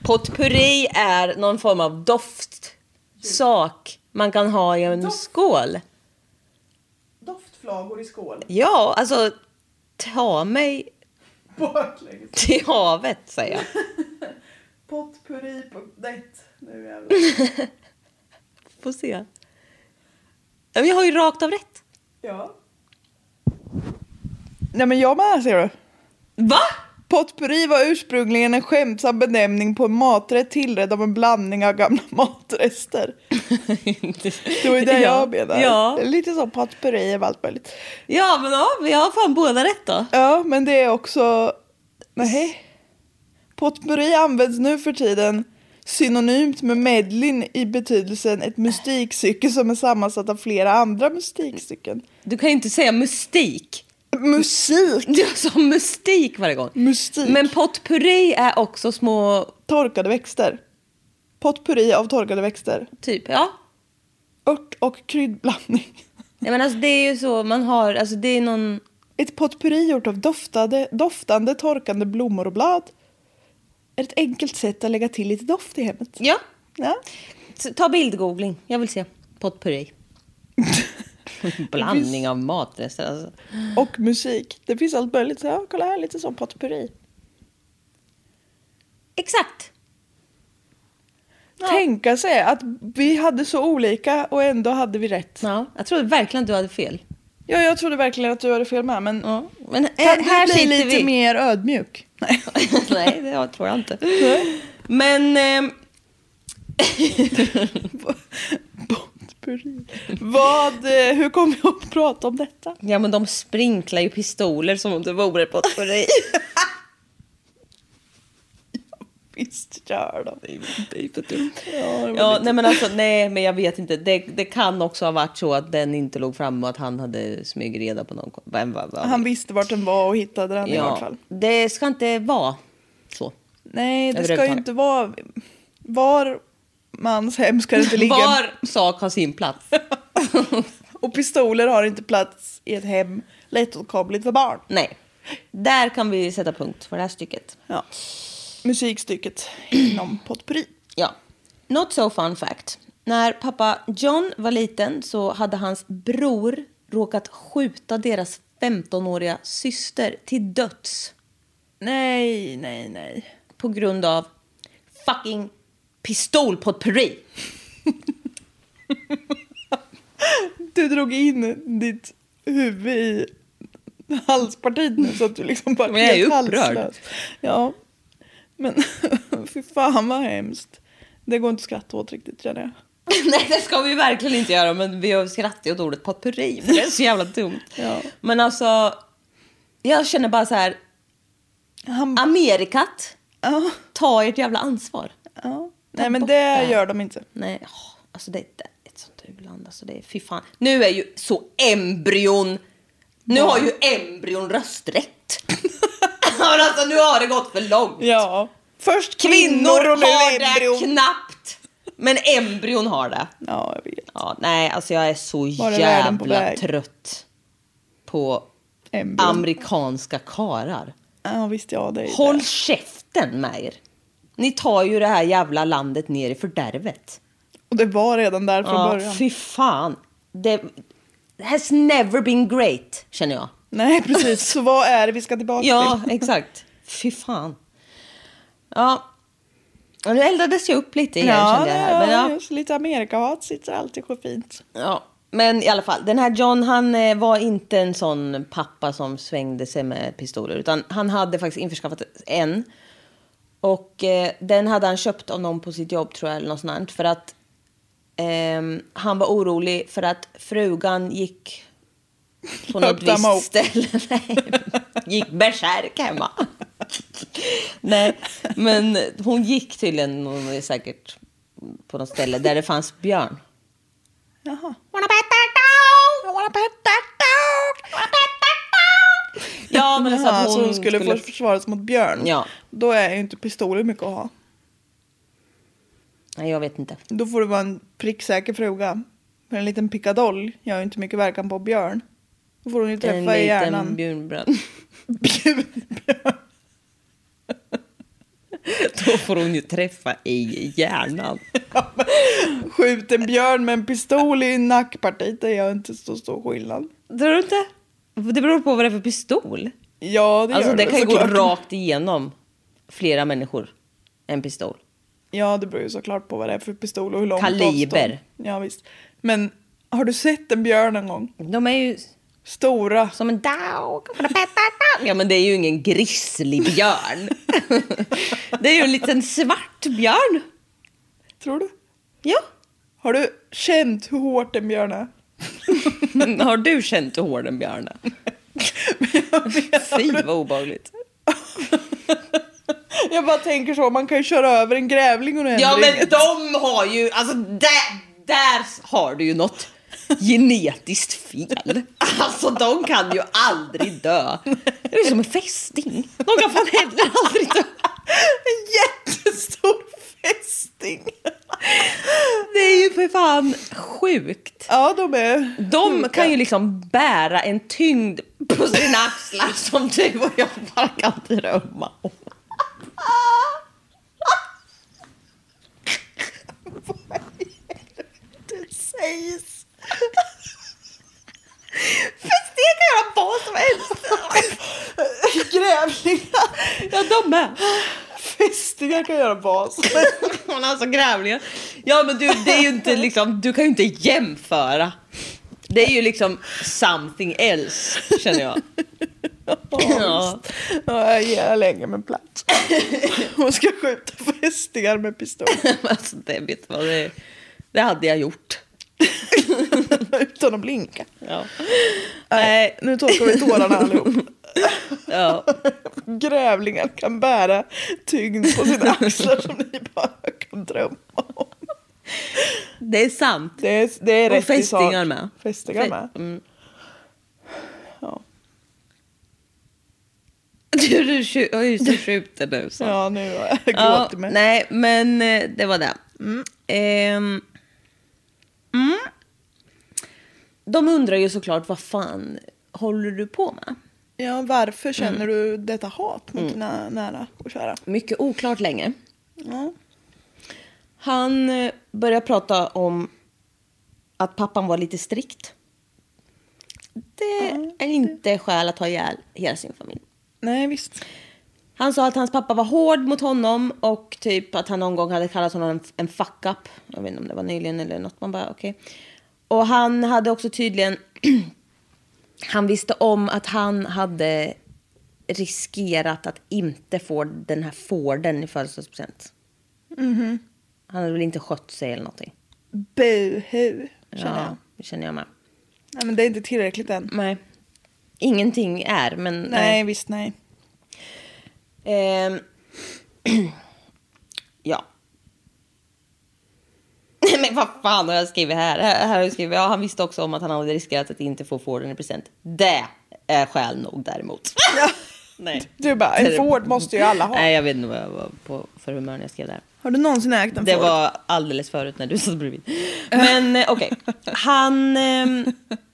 Potpurri är någon form av doftsak man kan ha i en skål.
Doftflagor i skål.
Ja, alltså ta mig
Baklänges.
till havet säger jag.
Potpurri på net. Nu jävlar.
Får se. Ja, men Jag har ju rakt av rätt.
Ja. Nej men jag med ser du.
Va?
Potpurri var ursprungligen en skämtsam benämning på en maträtt tillredd av en blandning av gamla matrester. Det var ju det jag menade.
Ja.
Lite som potpurri av allt möjligt.
ja, men ja, vi har fan båda rätt då.
Ja, men det är också... Nej. Potpurri används nu för tiden synonymt med medlin i betydelsen ett mystikstycke som är sammansatt av flera andra mystikstycken.
Du kan ju inte säga mystik.
Musik!
Jag sa mystik varje gång.
Mystik.
Men potpurri är också små,
Torkade växter. Potpurri av torkade växter.
typ, ja.
Ört och kryddblandning.
Nej, men alltså, det är ju så man har, alltså det är någon...
Ett potpurri gjort av doftade, doftande, torkande blommor och blad. Är ett enkelt sätt att lägga till lite doft i hemmet.
Ja.
Ja.
Så Ta bildgoogling, jag vill se. Potpurri. Blandning av matrester alltså.
Och musik. Det finns allt möjligt. Så, ja, kolla här, lite som potpurri.
Exakt.
Tänka sig att vi hade så olika och ändå hade vi rätt.
Ja, jag trodde verkligen att du hade fel.
Ja, jag trodde verkligen att du hade fel med, men...
Ja, men
Kan
här,
du
här
bli
sitter
lite
vi.
mer ödmjuk? Nej.
Nej, det tror jag inte. Men... ehm,
Potpurri. Vad, eh, hur kom vi att prata om detta?
Ja, men de sprinklar ju pistoler som om det vore potpurri.
Visst gör de. Ja,
ja, nej, men alltså, nej, men jag vet inte. Det, det kan också ha varit så att den inte låg fram och att han hade smygreda på någon. Vem, vad, vad-
Han visste vart den var och hittade den i vart
ja,
fall.
Det ska inte vara så.
Nej, det ska ju
Överhuvudtaget.
inte vara... Var mans hem ska det inte ligga.
Var sak har sin plats.
Och pistoler har inte plats i ett hem lättåtkomligt för barn.
nej, där kan vi sätta punkt för det här stycket.
Ja. Musikstycket inom potpurri.
Ja. Not so fun fact. När pappa John var liten så hade hans bror råkat skjuta deras 15-åriga syster till döds
Nej, nej, nej.
på grund av fucking pistol på ett purri.
Du drog in ditt huvud i halspartiet nu så att du liksom bara
Men jag är
helt
upprörd.
halslös. Ja. Men fy fan vad hemskt. Det går inte att skratta åt riktigt känner jag.
Nej det ska vi verkligen inte göra men vi har skrattat åt ordet potpurri för det är så jävla dumt.
Ja.
Men alltså, jag känner bara så här,
Han,
Amerikat,
ja,
ta ert jävla ansvar.
ja.
Ta
Nej men
bort
det
det.
gör de inte.
Nej, åh, alltså det är inte ett sånt u-land. Alltså det är, fy fan. Nu är ju så embryon... Nu har ju embryon rösträtt. Men alltså nu har det gått för långt.
Ja. Först
Kvinnor
och nu
har det
embryon.
knappt. Men embryon har det.
Ja, jag vet.
Ja, nej, alltså jag är så
Var är världen på
jävla
väg?
trött på
Embryon.
amerikanska karar.
ja visst ja, det är ju
Håll
det.
käften med er. Ni tar ju det här jävla landet ner i fördärvet.
Och det var redan där från
Ja,
början.
fy fan. Det has never been great, känner jag.
Nej precis, så vad är det vi ska tillbaka
Ja,
till?
exakt. Fy fan. Ja. Och nu eldades jag upp lite igen,
Ja,
kände jag här. Men, ja.
just lite Amerikahat sitter alltid så fint.
Ja. men i alla fall, den här John, han eh, var inte en sån pappa som svängde sig med pistoler. Utan han hade faktiskt införskaffat en. Och eh, den hade han köpt av någon på sitt jobb, tror jag, eller något sånt. här, För att ehm, han var orolig för att frugan gick på något
Öppna
visst
mop.
ställe. Nej, gick bärsärk hemma. Nej, men hon gick tydligen hon är säkert på något ställe där det fanns björn.
Jaha.
Wanna pet that dog? I wanna pet that dog? I wanna pet that dog? Ja, men så
Jaha,
att hon,
så hon skulle, få försvaras mot björn.
Ja.
Då är ju inte pistoler mycket att ha.
Nej, jag vet inte.
Då får det vara en pricksäker fruga. För en liten pickadoll gör ju inte mycket verkan på björn. Då får hon ju
En
träffa i
liten
hjärnan.
björnbrand. Då får hon ju träffa i hjärnan.
Skjut en björn med en pistol i nackpartiet, det gör inte så stor skillnad.
Tror du inte? Det beror på vad det är för pistol.
Ja, det
Alltså
gör
det kan ju gå
såklart.
rakt igenom flera människor. En pistol.
Ja, det beror ju såklart på vad det är för pistol och hur långt
Kaliber.
avstånd. Ja, visst. Men har du sett en björn en gång?
De är ju
Stora.
som en dog. Ja men det är ju ingen grizzlybjörn. Det är ju en liten svart björn.
Tror du?
Ja.
Har du känt hur hårt en björn är?
Har du känt hur hård en björn är? Fy vad obehagligt.
Jag bara tänker så, man kan ju köra över en grävling under en
Ja men
ring.
de har ju, alltså där, där har du ju något genetiskt fel. Alltså de kan ju aldrig dö. Det är ju som en fästing. De kan fan heller aldrig dö.
En jättestor fästing.
Det är ju för fan sjukt.
Ja, de är...
De kan ju liksom bära en tyngd på sina axlar som du och jag bara kan drömma om.
Sägs.
Fast det kan göra vad som helst.
Grävlingar.
Ja, de med.
Fästingar kan göra vad som helst.
Men alltså grävlingar. Ja, men du, det är ju inte liksom, du kan ju inte jämföra. Det är ju liksom something else, känner jag. Ja.
Ja, jag ger länge med platt. Hon ska skjuta fästingar med pistol.
Alltså, det, vet du vad, det, det hade jag gjort.
Utan att blinka.
Ja.
Nej, nu torkar vi tårarna allihop.
Ja.
Grävlingar kan bära tyngd på sina axlar som ni bara kan drömma om.
Det är sant.
Det är, det är
Och
rätt i sak.
fästingar med.
Fästingar
Fä-
med.
Mm.
Ja.
Du, du skju- har ju så skjuter nu. Så.
Ja, nu har jag
Ja,
gråtit mig.
Nej, men eh, det var det. Ehm, mm. De undrar ju såklart vad fan håller du på med?
Ja, varför
Mm.
känner du detta hat mot dina nära och kära?
Mycket oklart länge.
Ja.
Han eh, börjar prata om att pappan var lite strikt. Det är inte skäl att ha ihjäl hela sin familj.
Nej, visst.
Han sa att hans pappa var hård mot honom och typ att han någon gång hade kallat honom en, en fuck-up. Jag vet inte om det var nyligen eller något. Man bara okej. Och han hade också tydligen... han visste om att han hade riskerat att inte få den här Forden i födelsedagspresent. Mm-hmm. Han hade väl inte skött sig eller någonting.
Buhu, känner
Ja, Mm,
jag.
det känner jag med.
Nej, men det är inte tillräckligt än.
Nej. Ingenting är, men...
Nej, visst nej.
Ehm. ja. Nej, Men vad fan har jag skrivit här? Här här har jag skrivit, ja, han visste också om att han hade riskerat att inte få Forden i present. Det är skäl nog däremot. Nej.
Du bara, en Ford måste ju alla ha.
Nej, jag vet inte vad jag var på för humör när jag skrev det här.
Har du någonsin ägt en
Det
Ford?
var alldeles förut när du satt bredvid. Men eh, okej, han... ehm,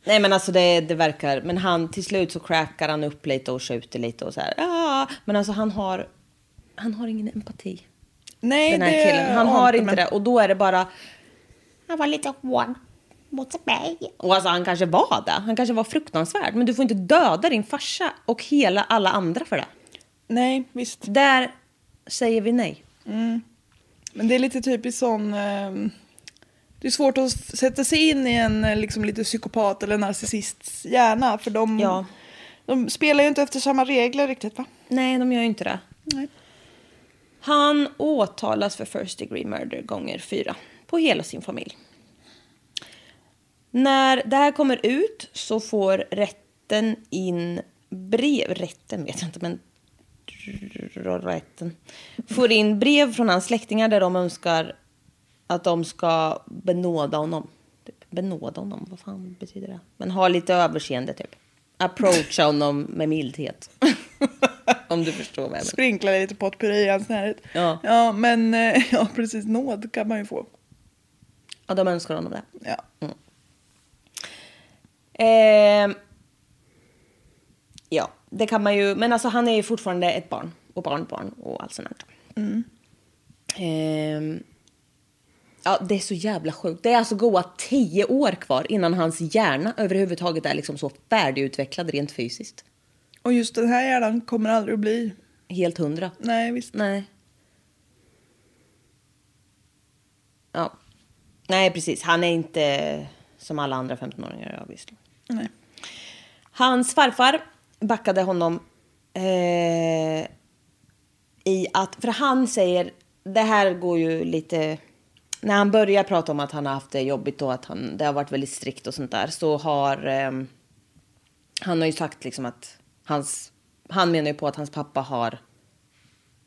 nej men alltså det, det verkar... Men han till slut så crackar han upp lite och skjuter lite och så här. Ah, men alltså han har... Han har ingen empati.
Nej,
den här
det
killen. Han
ante
har inte
mig.
det. Och då är det bara... Han var lite hård mot mig. Och alltså han kanske var det. Han kanske var fruktansvärd. Men du får inte döda din farsa och hela alla andra för det.
Nej, visst.
Där säger vi nej.
Men det är lite typiskt sån... ehm, det är svårt att s- sätta sig in i en eh, liksom, lite psykopat eller narcissists hjärna. För de,
Ja.
de spelar ju inte efter samma regler riktigt va?
Nej, de gör ju inte det.
Nej.
Han åtalas för first degree murder gånger fyra på hela sin familj. När det här kommer ut så får rätten in brev, rätten vet jag inte men rätten, får in brev från hans släktingar där de önskar att de ska benåda honom. Typ, benåda honom, vad fan betyder det? Men ha lite överseende typ. Approacha honom med mildhet. Om du förstår vad jag menar.
Sprinklar lite potpurri i hans närhet.
Ja.
ja, men eh, ja, precis. Nåd kan man ju få.
Ja, de önskar honom det.
Ja.
Mm. Ehm, ja, det kan man ju. Men alltså han är ju fortfarande ett barn och barnbarn och allt sånt där. Ehm, ja, det är så jävla sjukt. Det är alltså goa tio år kvar innan hans hjärna överhuvudtaget är liksom så färdigutvecklad rent fysiskt.
Och just den här hjärnan kommer aldrig att bli.
Helt hundra.
Nej, visst.
Nej. Ja. Nej, precis. Han är inte som alla andra 15-åringar. Ja, visst.
Nej.
Hans farfar backade honom eh, i att, för han säger, det här går ju lite, när han börjar prata om att han har haft det jobbigt och att han, det har varit väldigt strikt och sånt där, så har ehm, han har ju sagt liksom att hans, han menar ju på att hans pappa har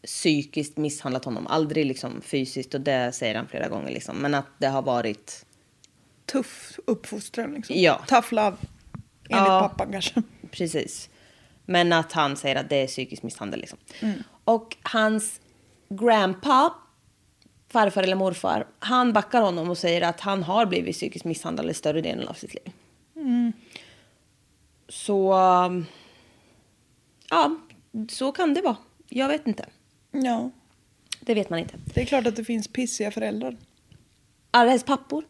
psykiskt misshandlat honom, aldrig liksom fysiskt och det säger han flera gånger liksom, men att det har varit
Tuff uppfostran liksom.
Ja.
Tough love. Enligt
Ja.
pappan kanske.
Precis. Men att han säger att det är psykisk misshandel. Liksom.
Mm.
Och hans grandpa, farfar eller morfar, han backar honom och säger att han har blivit psykiskt misshandlad i större delen av sitt liv.
Mm.
Så... um, Ja, så kan det vara. Jag vet inte.
Ja.
Det vet man inte.
Det är klart att det finns pissiga föräldrar.
Alla hennes pappor.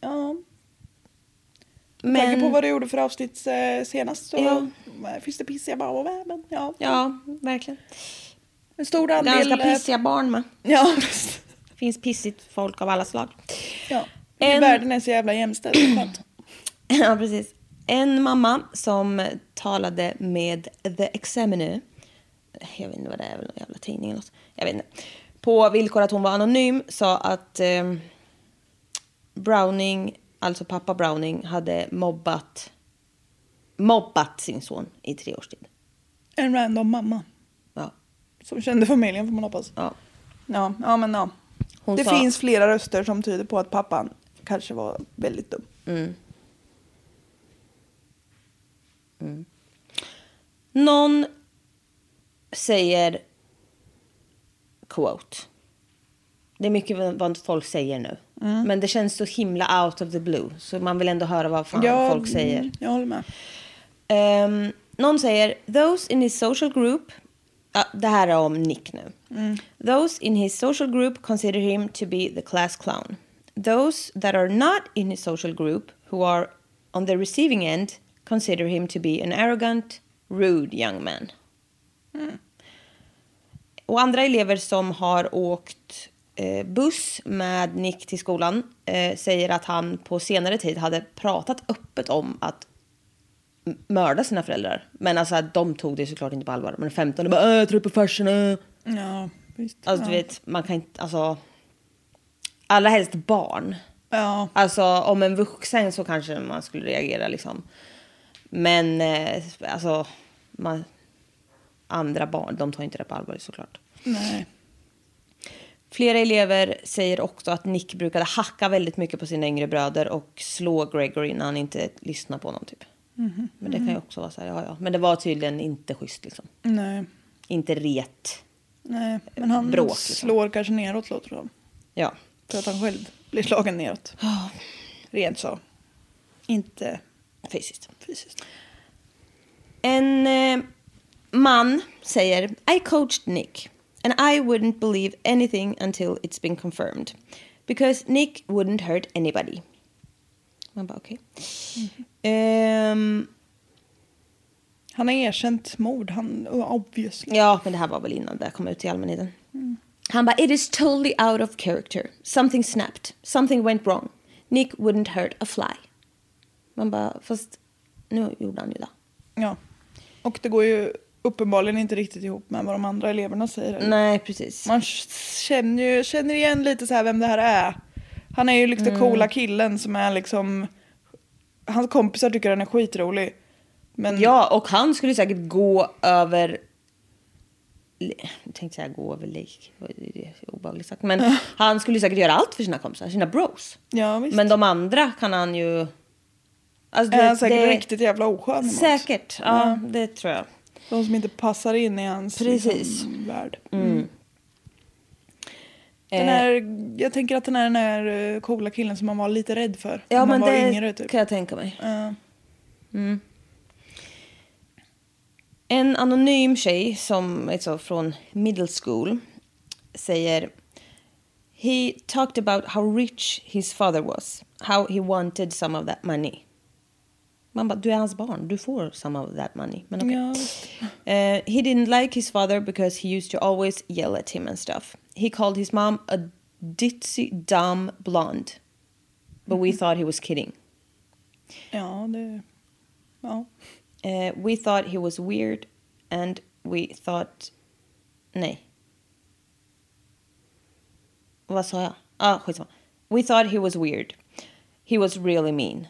Ja. Med
Men...
tanke på vad du gjorde för avsnitt eh, senast så
Ja.
eh, finns det pissiga barn och värmen. Ja.
Ja, verkligen.
En stor andel.
Ganska
eh,
pissiga barn med.
Ja, visst.
Finns pissigt folk av alla slag.
Ja.
En-
Världen är så jävla jämställd. Skönt.
Ja, precis. En mamma som talade med The Examiner. Jag vet inte vad det är, väl någon jävla tidning eller något. Jag vet inte. På villkor att hon var anonym sa att eh, Browning, alltså pappa Browning, hade mobbat, mobbat sin son i tre års tid.
En random mamma
Ja,
som kände familjen får man hoppas.
ja.
Ja, ja men ja.
Hon
det
sa-
finns flera röster som tyder på att pappan kanske var väldigt dum.
Någon säger quote. Det är mycket vad vad folk säger nu. Men det känns så himla out of the blue. Så man vill ändå höra vad fan
Ja,
folk säger.
mm, Jag håller med.
Ehm, någon säger those in his social group. Ah, det här är om Nick nu. Those in his social group consider him to be the class clown. Those that are not in his social group who are on the receiving end consider him to be an arrogant, rude young man. Och andra elever som har åkt eh, buss med Nick till skolan eh, säger att han på senare tid hade pratat öppet om att m- mörda sina föräldrar. Men alltså att de tog det såklart inte på allvar. Men 15 och bara "Äh, jag tror på farsan. äh."
Ja, visst.
Alltså du vet, man kan inte, alltså. Allra helst barn.
Ja.
Alltså om en vuxen så kanske man skulle reagera liksom. Men eh, alltså, man, andra barn, de tar inte det på allvar såklart.
Nej.
Flera elever säger också att Nick brukade hacka väldigt mycket på sina yngre bröder och slå Gregory när han inte lyssnar på honom typ. Men det kan ju också vara så här, ja ja. Men det var tydligen inte schysst liksom.
Nej.
Inte ret.
Nej. Men han
Bråk, liksom.
slår kanske neråt låter det som.
Ja.
För att han själv blir slagen neråt. Rent så. Inte
Fysiskt.
fysiskt.
En eh, man säger I coached Nick and I wouldn't believe anything until it's been confirmed. Because Nick wouldn't hurt anybody. Man bara okej. Ehm,
Han har erkänt mord, han obviously.
Ja, men det här var väl innan det kom ut till allmänheten. Han bara, it is totally out of character. Something snapped. Something went wrong. Nick wouldn't hurt a fly. Man bara, fast nu gjorde han ju det.
Ja. Och det går ju uppenbarligen inte riktigt ihop med vad de andra eleverna säger.
Nej, precis.
Man känner ju känner igen lite så här vem det här är. Han är ju liksom
Mm.
den coola killen som är liksom... Hans kompisar tycker han är skitrolig. Men
Ja, och han skulle säkert gå över... Jag tänkte säga gå över lik. Det är obehagligt sagt. Men han skulle säkert göra allt för sina kompisar, sina bros.
Ja, visst.
Men de andra kan han ju... Alltså,
är han säkert riktigt jävla oskön emot.
Säkert, ja, det tror jag.
De som inte passar in i hans
Precis. Mm.
liksom, värld.
Eh.
Den här, jag tänker att den är den här eh, coola killen som man var lite rädd för.
Ja,
när
men
man var
det
yngre typ.
kan jag tänka mig.
Ja.
En anonym tjej som alltså, från middle school säger He talked about how rich his father was. How he wanted some of that money. Man bara, du är hans barn, du får some of that money. Men okej.
Ja,
Eh, he didn't like his father because he used to always yell at him and stuff. He called his mom a ditzy dumb blonde. But we thought he was kidding.
ja, det... Ja.
Eh, we thought he was weird and we thought... Nej. Vad sa jag? Ah, skitsamma. We thought he was weird. He was really mean.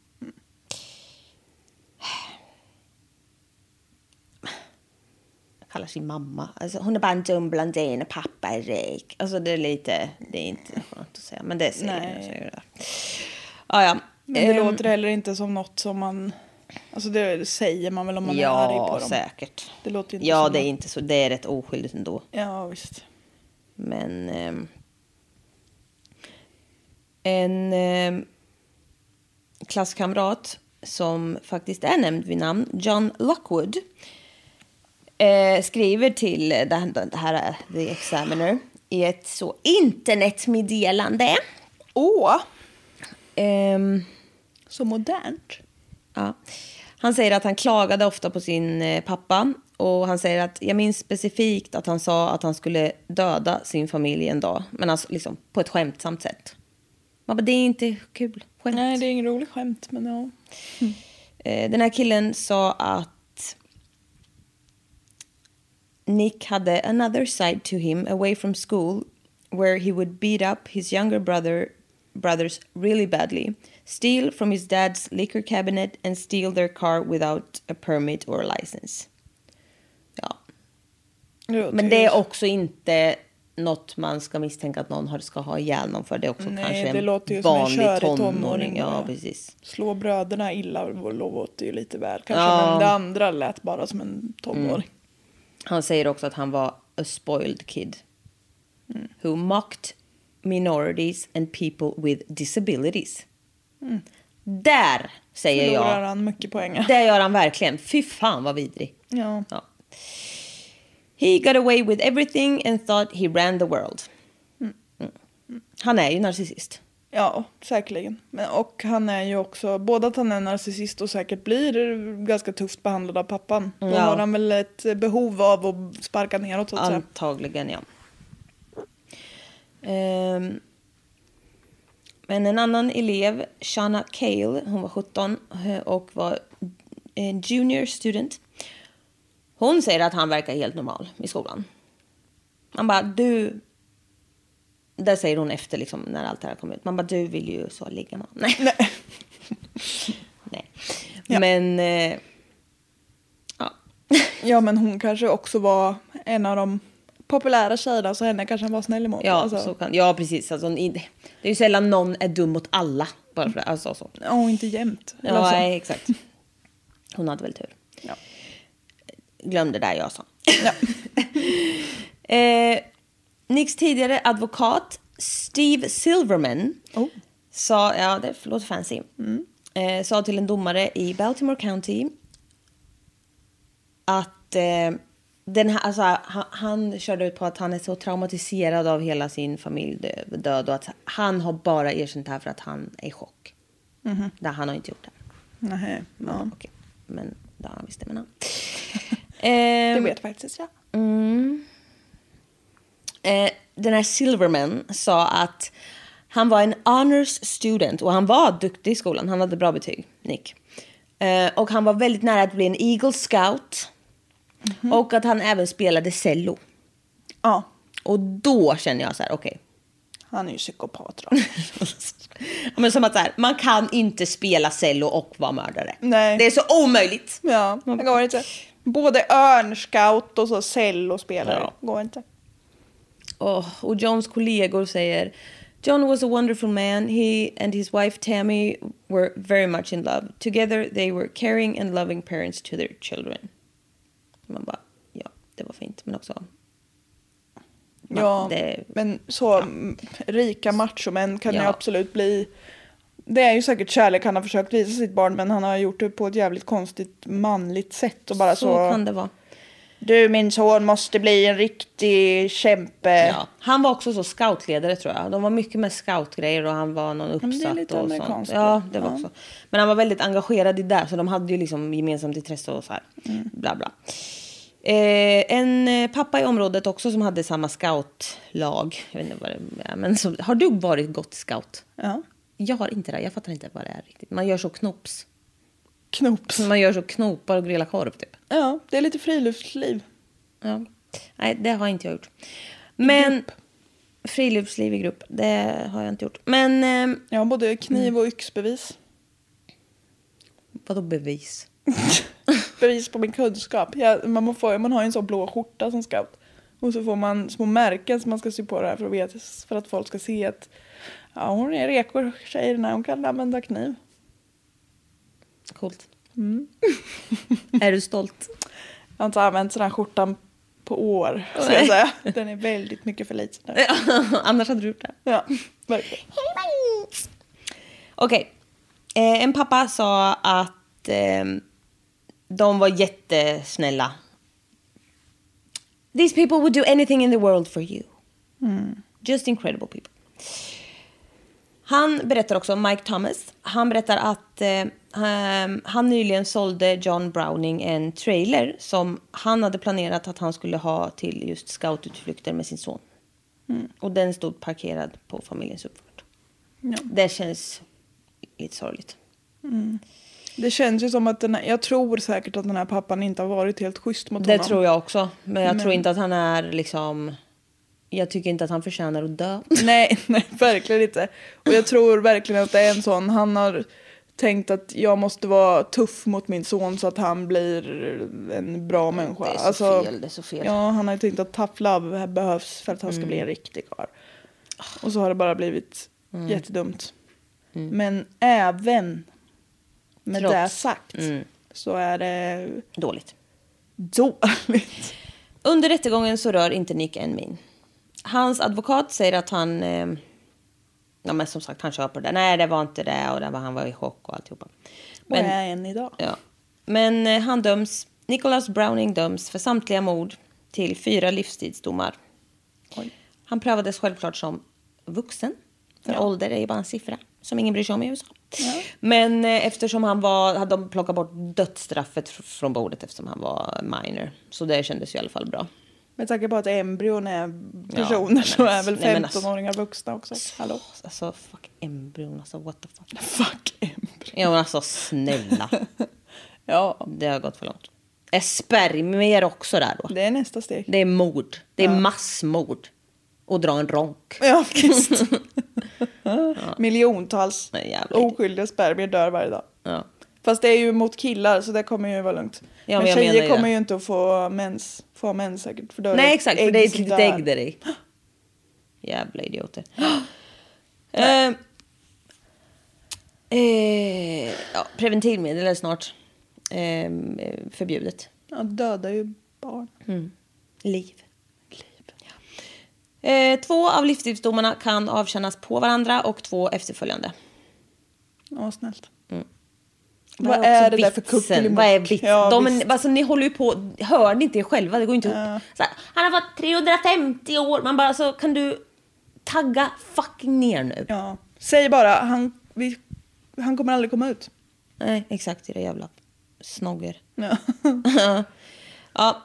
Jag kallar sin mamma. Alltså, hon är bara en dum blondin och pappa är rik. Alltså det är lite... Det är inte skönt att säga, men det säger
Nej.
jag. Säger det. Ah, ja.
Men det
Ehm,
låter heller inte som något som man... Alltså det säger man väl om man är arg på
Ja,
dem.
säkert.
Det låter ju inte
ja,
som
det är
något.
inte så. Det är rätt oskyldigt ändå.
Ja, visst.
Men... ehm, en ehm, klasskamrat som faktiskt är nämnd vid namn, John Lockwood, eh, skriver till det här, det här är The Examiner i ett så internetmeddelande.
Åh,
Ehm,
så modernt.
Ja. Han säger att han klagade ofta på sin eh, pappa. Och han säger att jag minns specifikt att han sa att han skulle döda sin familj en dag. Men alltså liksom på ett skämtsamt sätt. Man bara, det är inte kul skämt.
Nej, det är ingen rolig skämt, men ja.
Eh, Den här killen sa att Nick hade another side to him away from school where he would beat up his younger brother brothers really badly, steal from his dad's liquor cabinet and steal their car without a permit or license. Ja,
Det låter
men det
ju-
är också inte något man ska misstänka att någon har- ska ha ihjäl någon för. Det är också
Nej,
kanske
det
en
låter ju som en
vanlig
körig
tonåring.
tonåring,
Ja,
ja.
precis.
Slå bröderna illa låter ju lite väl kanske,
Ja. Mm.
men det andra lät bara som en tonåring.
Han säger också att han var a spoiled kid. Mm. Who mocked minorities and people with disabilities. Mm. Där säger
Förlorar
jag.
han mycket poäng.
Det gör han verkligen. Fy fan vad vidrig.
Ja.
Ja. He got away with everything and thought he ran the world. Mm. Han är ju narcissist.
ja, säkerligen. Men, och han är ju också, både att han är narcissist och säkert blir ganska tufft behandlad av pappan. Då
Ja.
har han väl ett behov av att sparka neråt så att säga.
Antagligen ja. Ehm, men en annan elev, Shanna Cale, hon var 17 eh, och var en junior student. Hon säger att han verkar helt normal i skolan. Man bara, du... Där säger hon efter liksom, när allt det här kom ut. Man bara, du vill ju så ligga med honom. Nej. Nej. Men... Eh, ja.
Ja men hon kanske också var en av de populära tjejerna så henne kanske han var snäll emot.
Ja,
alltså.
så kan, ja precis. Alltså, i- det är ju sällan någon är dum mot alla. Bara för det. Alltså, så.
Och inte jämt. eller
Ja,
så.
nej, exakt. Hon hade väl tur.
Ja.
Glöm det där jag sa. eh, Nicks tidigare advokat Steve Silverman
Oh. Mm.
sa, ja det låter fancy, eh, sa till en domare i Baltimore County att eh, den här, alltså, han, han körde ut på att han är så traumatiserad av hela sin familj dö- död och att han har bara erkänt det här för att han är i chock. mm han har inte gjort det här.
Nej, ja.
Okej, men det har han visst det menar han.
Det
Ehm,
vet faktiskt jag.
eh, den här Silverman sa att han var en honors student och han var duktig i skolan. Han hade bra betyg, Nick. Eh, och han var väldigt nära att bli en Eagle Scout.
Mhm.
Och att han även spelade cello.
Ja,
Och då känner jag så här, okej.
han är ju psykopat då.
Men som att så här, man kan inte spela cello och vara mördare.
Nej.
Det är så omöjligt.
ja, det går inte. Både örnscout och så cellospelare.
Ja.
Går inte.
Oh, och Johns kollegor säger John was a wonderful man. He and his wife Tammy were very much in love. Together they were caring and loving parents to their children. Man bara, ja, det var fint, men också...
Ja,
det-
men så m, rika machomän kan
Ja.
ju absolut bli. Det är ju säkert kärlek han har försökt visa sitt barn men han har gjort det på ett jävligt konstigt manligt sätt och bara
så,
så.
kan det vara.
Du min son måste bli en riktig kämpe.
Ja. Eh, Han var också så scoutledare tror jag. De var mycket med scoutgrejer och han var någon
men det är
uppsatt
lite
och sånt.
amerikanskt.
Ja, det var
Ja.
också. Men han var väldigt engagerad i det så de hade ju liksom gemensamt intresse och så här.
Mm.
Bla bla. Eh, en eh, pappa i området också som hade samma scoutlag. Jag vet inte vad det är, men så, har du varit gott scout?
Ja.
Jag har inte det. Jag fattar inte vad det är riktigt. Man gör så knops.
Knops.
Man gör så knopar och grillar korv typ.
Ja, det är lite friluftsliv.
Ja. Nej, det har inte jag gjort. Men friluftsliv i grupp, det har jag inte gjort. Men eh,
Jag har både kniv och yxbevis.
vadå bevis?
Bevis på min kunskap. Jag, man, får, man har ju en sån blå skjorta som scout. Och så får man små märken som man ska sy på det här för att, veta, för att folk ska se att ja, hon är reko tjej när hon kan använda kniv.
Coolt. är du stolt?
Jag har inte använt den här skjortan på år. Ska jag säga. Den är väldigt mycket för liten nu.
Annars hade du gjort det.
Ja, verkligen.
Okej. Eh, en pappa sa att eh, de var jättesnälla. These people would do anything in the world for you. Just incredible people. Han berättar också, Mike Thomas, han berättar att eh, ehm, han nyligen sålde John Browning en trailer som han hade planerat att han skulle ha till just scoututflykter med sin son. Och den stod parkerad på familjens uppfart. Det känns lite sorgligt.
Det känns ju som att den här, jag tror säkert att den här pappan inte har varit helt schysst mot
Det
honom.
tror jag också. Men jag tror inte att han är liksom... Jag tycker inte att han förtjänar att dö.
Nej, nej, verkligen inte. Och jag tror verkligen att det är en sån, han har tänkt att jag måste vara tuff mot min son så att han blir en bra människa.
Mm,
Alltså,
Det är så fel, det är så fel. Mm.
Ja, han har ju tänkt att tough love behövs för att han ska bli en riktig karl. Och så har det bara blivit
Mm.
jättedumt. Men även med
Trots. Mm.
det sagt så är det
Dåligt.
dåligt.
Under rättegången så rör inte Nick en min. Hans advokat säger att han... Eh, ja, men som sagt, han köper det. Nej, det var inte det. Och det var, han var i chock och alltihopa.
Och
Men,
är än idag.
ja. men eh, han döms... Nicholas Browning döms för samtliga mord till fyra livstidsdomar.
Oj.
Han prövades självklart som vuxen. För ålder är ju bara en siffra som ingen bryr sig om i USA. Men eh, eftersom han var, hade de plockat bort dödsstraffet fr- från bordet eftersom han var minor. Så det kändes ju i alla fall bra.
Med tanke på att embryon är personer så är väl
nej, men alltså-
15-åringar vuxna också. Hallå?
Alltså fuck embryon alltså what the fuck.
Fuck embryon.
Ja men alltså snälla.
Ja,
Det har gått för långt. Är spermier också där då?
det är nästa steg.
Det är mord. Det är massmord. Och dra en ronk.
Ja, visst. Miljontals
Men jävlar.
oskyldiga spermier dör varje dag.
Ja.
Fast det är ju mot killar så det kommer ju vara lugnt.
Ja, men
men
jag
tjejer
menar ju
kommer
det.
ju inte att få mens, få mens säkert. För då är
Nej
det
exakt, för det är ett
som
litet
dör.
ägg där i. Jävla idioter. eh, eh, ja, preventivmedel är snart eh, förbjudet.
Ja, dödar ju barn.
Liv. Liv. Ja. Eh, två av livstidsdomarna kan avtjänas på varandra och två efterföljande.
Åh, snällt.
Mm. Det
Vad
här
är
också
det där för
vitsen.
kuckelimot?
Vad är vitsen?
Ja,
De,
visst.
är- alltså, ni håller ju på, hör ni inte er själva? Det går inte ihop. Så här, han har varit 350 år. Man bara, så kan du tagga fucking ner nu?
Ja. Säg bara, han, vi, han kommer aldrig komma ut.
Nej, exakt. Era jävla snogger.
Ja.
ja.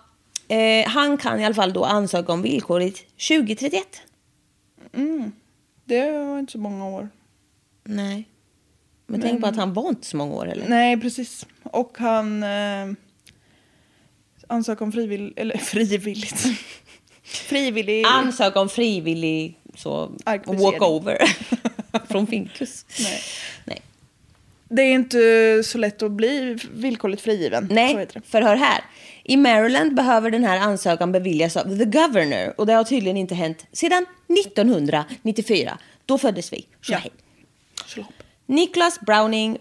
Eh, han kan i alla fall då ansöka om villkorligt 2031.
Det var inte så många år.
Nej. Men, tänk på att han var inte så många år heller.
Nej, precis. Och han eh, ansökte om frivill, eller frivilligt. Frivillig.
Ansök om frivillig så,
Arkebusering.
walkover från Finkus.
Nej.
Nej.
det är inte så lätt att bli villkorligt frigiven. Så
Nej,
heter det.
för hör här. I Maryland behöver den här ansökan beviljas av the governor och det har tydligen inte hänt sedan 1994. Då föddes vi. Så
Ja.
hej.
Förlåt.
Niklas Browning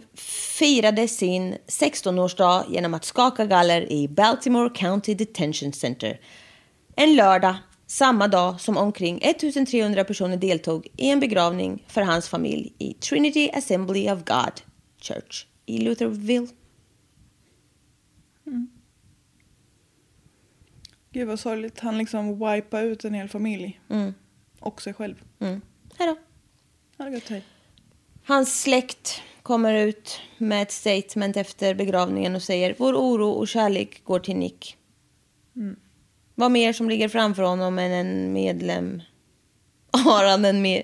firade sin 16-årsdag genom att skaka galler i Baltimore County Detention Center en lördag samma dag som omkring 1300 personer deltog i en begravning för hans familj i Trinity Assembly of God Church i Lutherville.
Gud vad sorgligt. Han liksom wipa ut en hel familj. Och sig själv.
Mm. Hej då.
Ha det gött, hej.
Hans släkt kommer ut med ett statement efter begravningen och säger vår oro och kärlek går till Nick. Mm. Vad mer som ligger framför honom än en medlem? Har han en med...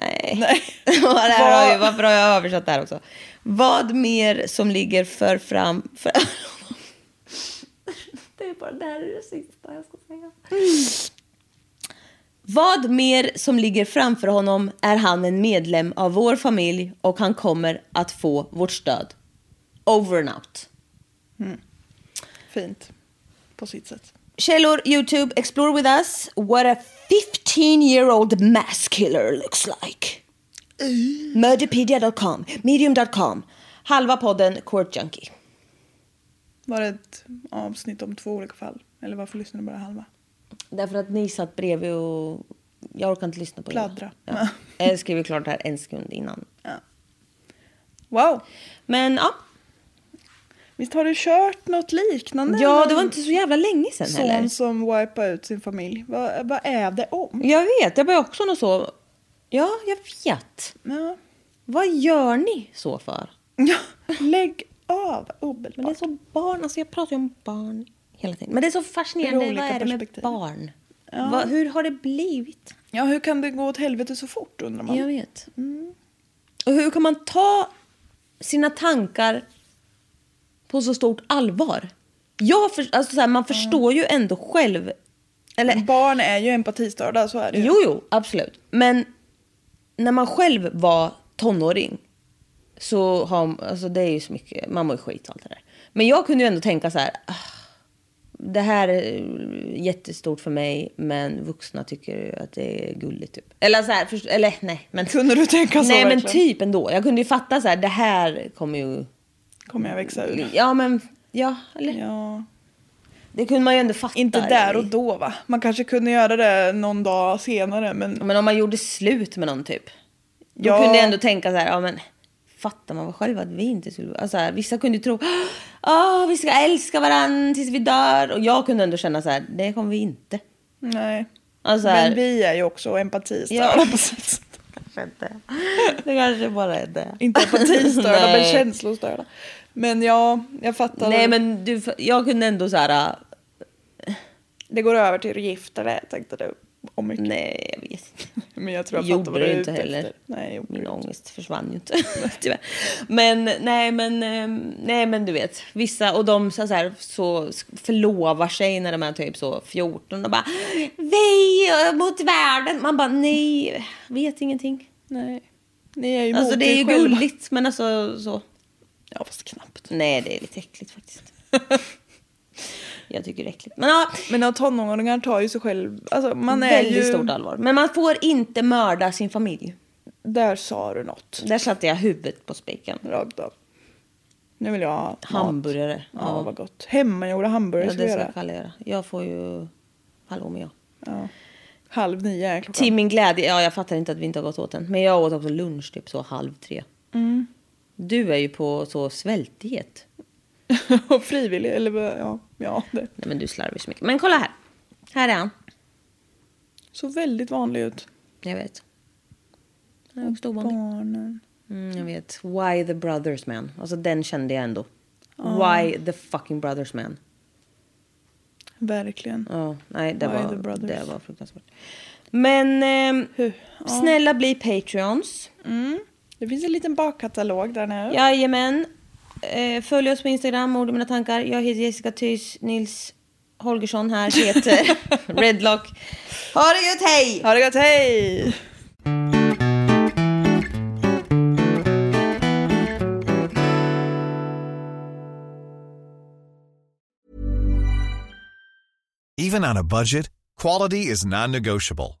Nej.
Nej.
Vad det här har ju,
Vad-
varför har jag översatt det här också? Vad mer som ligger för fram... För... det är bara det här är det sista jag ska säga. Vad mer som ligger framför honom är han en medlem av vår familj och han kommer att få vårt stöd. Over and out.
Fint. På sitt sätt.
Källor, YouTube, explore with us what a 15-year-old mass killer looks like. Murderpedia.com, medium.com, halva podden Court Junkie.
Var det ett avsnitt om två olika fall? Eller varför lyssnar du bara halva?
Därför att ni satt bredvid och jag orkar inte lyssna på
Pladdra.
er. Ja. Jag skriver klart det här en sekund innan.
Wow!
Men ja,
Visst har du kört något liknande?
ja
Någon
det var inte så jävla länge sedan
Son
heller.
som wipar ut sin familj. Vad, vad är det om?
Jag vet, det var ju också något så. Ja, jag vet.
Ja.
Vad gör ni så för?
Ja, Lägg
Men
av
det är
omedelbart.
så barn, alltså jag pratar ju om barn hela tiden. Men det är så
Ur
fascinerande,
olika
vad är det med
perspektiv.
barn? Vad- hur har det blivit?
Ja, hur kan det gå åt helvete så fort undrar man.
Jag vet. Mm. Och hur kan man ta sina tankar på så stort allvar? Jag för, alltså så här, man förstår ju ändå själv. Eller,
Barn är ju empatistörda, så är det ju.
jo, jo, absolut. Men när man själv var tonåring så har alltså det är ju så mycket, man mår ju skit och allt det där. Men jag kunde ju ändå tänka så här, "Ah, det här är eh, jättestort för mig men vuxna tycker ju att det är gulligt typ. Eller så här, först, eller nej. Men,
Kunde du tänka så
Nej men
verkligen?
typ ändå. Jag kunde ju fatta så här, det här kommer ju... typ-
Kommer jag växa ur?
Ja men, ja eller?
Ja.
Det kunde man ju ändå fatta.
Inte där och då va? Man kanske kunde göra det någon dag senare men
Men om man gjorde slut med någon typ. Då
Ja.
kunde jag ändå tänka så här, ja men fattar man väl själv att vi inte skulle... Alltså här, vissa kunde ju tro, ah vi ska älska varandra tills vi dör. Och jag kunde ändå känna så här, det kommer vi inte.
nej.
Alltså här,
Men vi är ju också empatistörda
Ja.
på sitt sätt.
kanske inte. Det kanske bara är det.
Inte empatistörda men
Nej.
känslostörda. Men ja, jag fattar.
"Ah, Nej men du, jag kunde ändå så här... äh,
Det går över till giftare, tänkte du. Om mycket.
Nej, jag vet inte.
Men jag tror jag
Gjorde
fattar vad du
det
är
inte
ute
heller.
efter. Nej, gjorde
Min
det.
ångest försvann ju inte. Tyvärr. Men nej, men ehm, nej, men du vet vissa och de så här så förlovar sig när de är typ så 14 och bara vi eh, mot världen. Man bara nej, vet ingenting.
Nej. Ni är ju
Alltså
mot
det är
er
ju
själva.
gulligt, men alltså så.
Ja, fast knappt.
Nej, det är lite äckligt faktiskt. jag tycker det är äckligt. Men ja,
Men ja, tonåringar tar ju sig själv... Alltså, man är
väldigt
ju...
stort allvar. Men man får inte mörda sin familj.
Där sa du något.
Där satte jag huvudet på spiken.
Rakt av. Nu vill jag ha mat.
Hamburgare.
Ja,
Ja.
vad gott. Hemmagjorda hamburgare
Ja,
ska
det
jag
ska
göra.
Kalle göra. Jag får ju halloumi jag.
Ja. Halv nio är klockan.
Till min glädje, ja jag fattar inte att vi inte har gått åt den. Men jag åt också lunch typ så halv tre.
Mm.
Du är ju på så svältdiet.
Och frivillig, eller vad- ja. ja det.
Nej men du slarvar ju så mycket. Men kolla här. Här är han.
Så väldigt vanlig ut.
Jag vet. Han är också ovanlig.
Barnen.
Mm, jag vet. Why the brothers man. Alltså den kände jag ändå. Why the fucking brothers man.
Verkligen.
Ja, nej det
Why the
var,
brothers?
det var fruktansvärt. Men ehm,
Hur? Ja.
snälla bli patreons.
Det finns en liten bakkatalog där nu.
Jajamän. Eh, följ oss på Instagram, ord i mina tankar. Jag heter Jessica Thys, Nils Holgersson här heter Redlock. Ha det gött, hej!
Ha det gott, hej!
Even on a budget, quality is non-negotiable.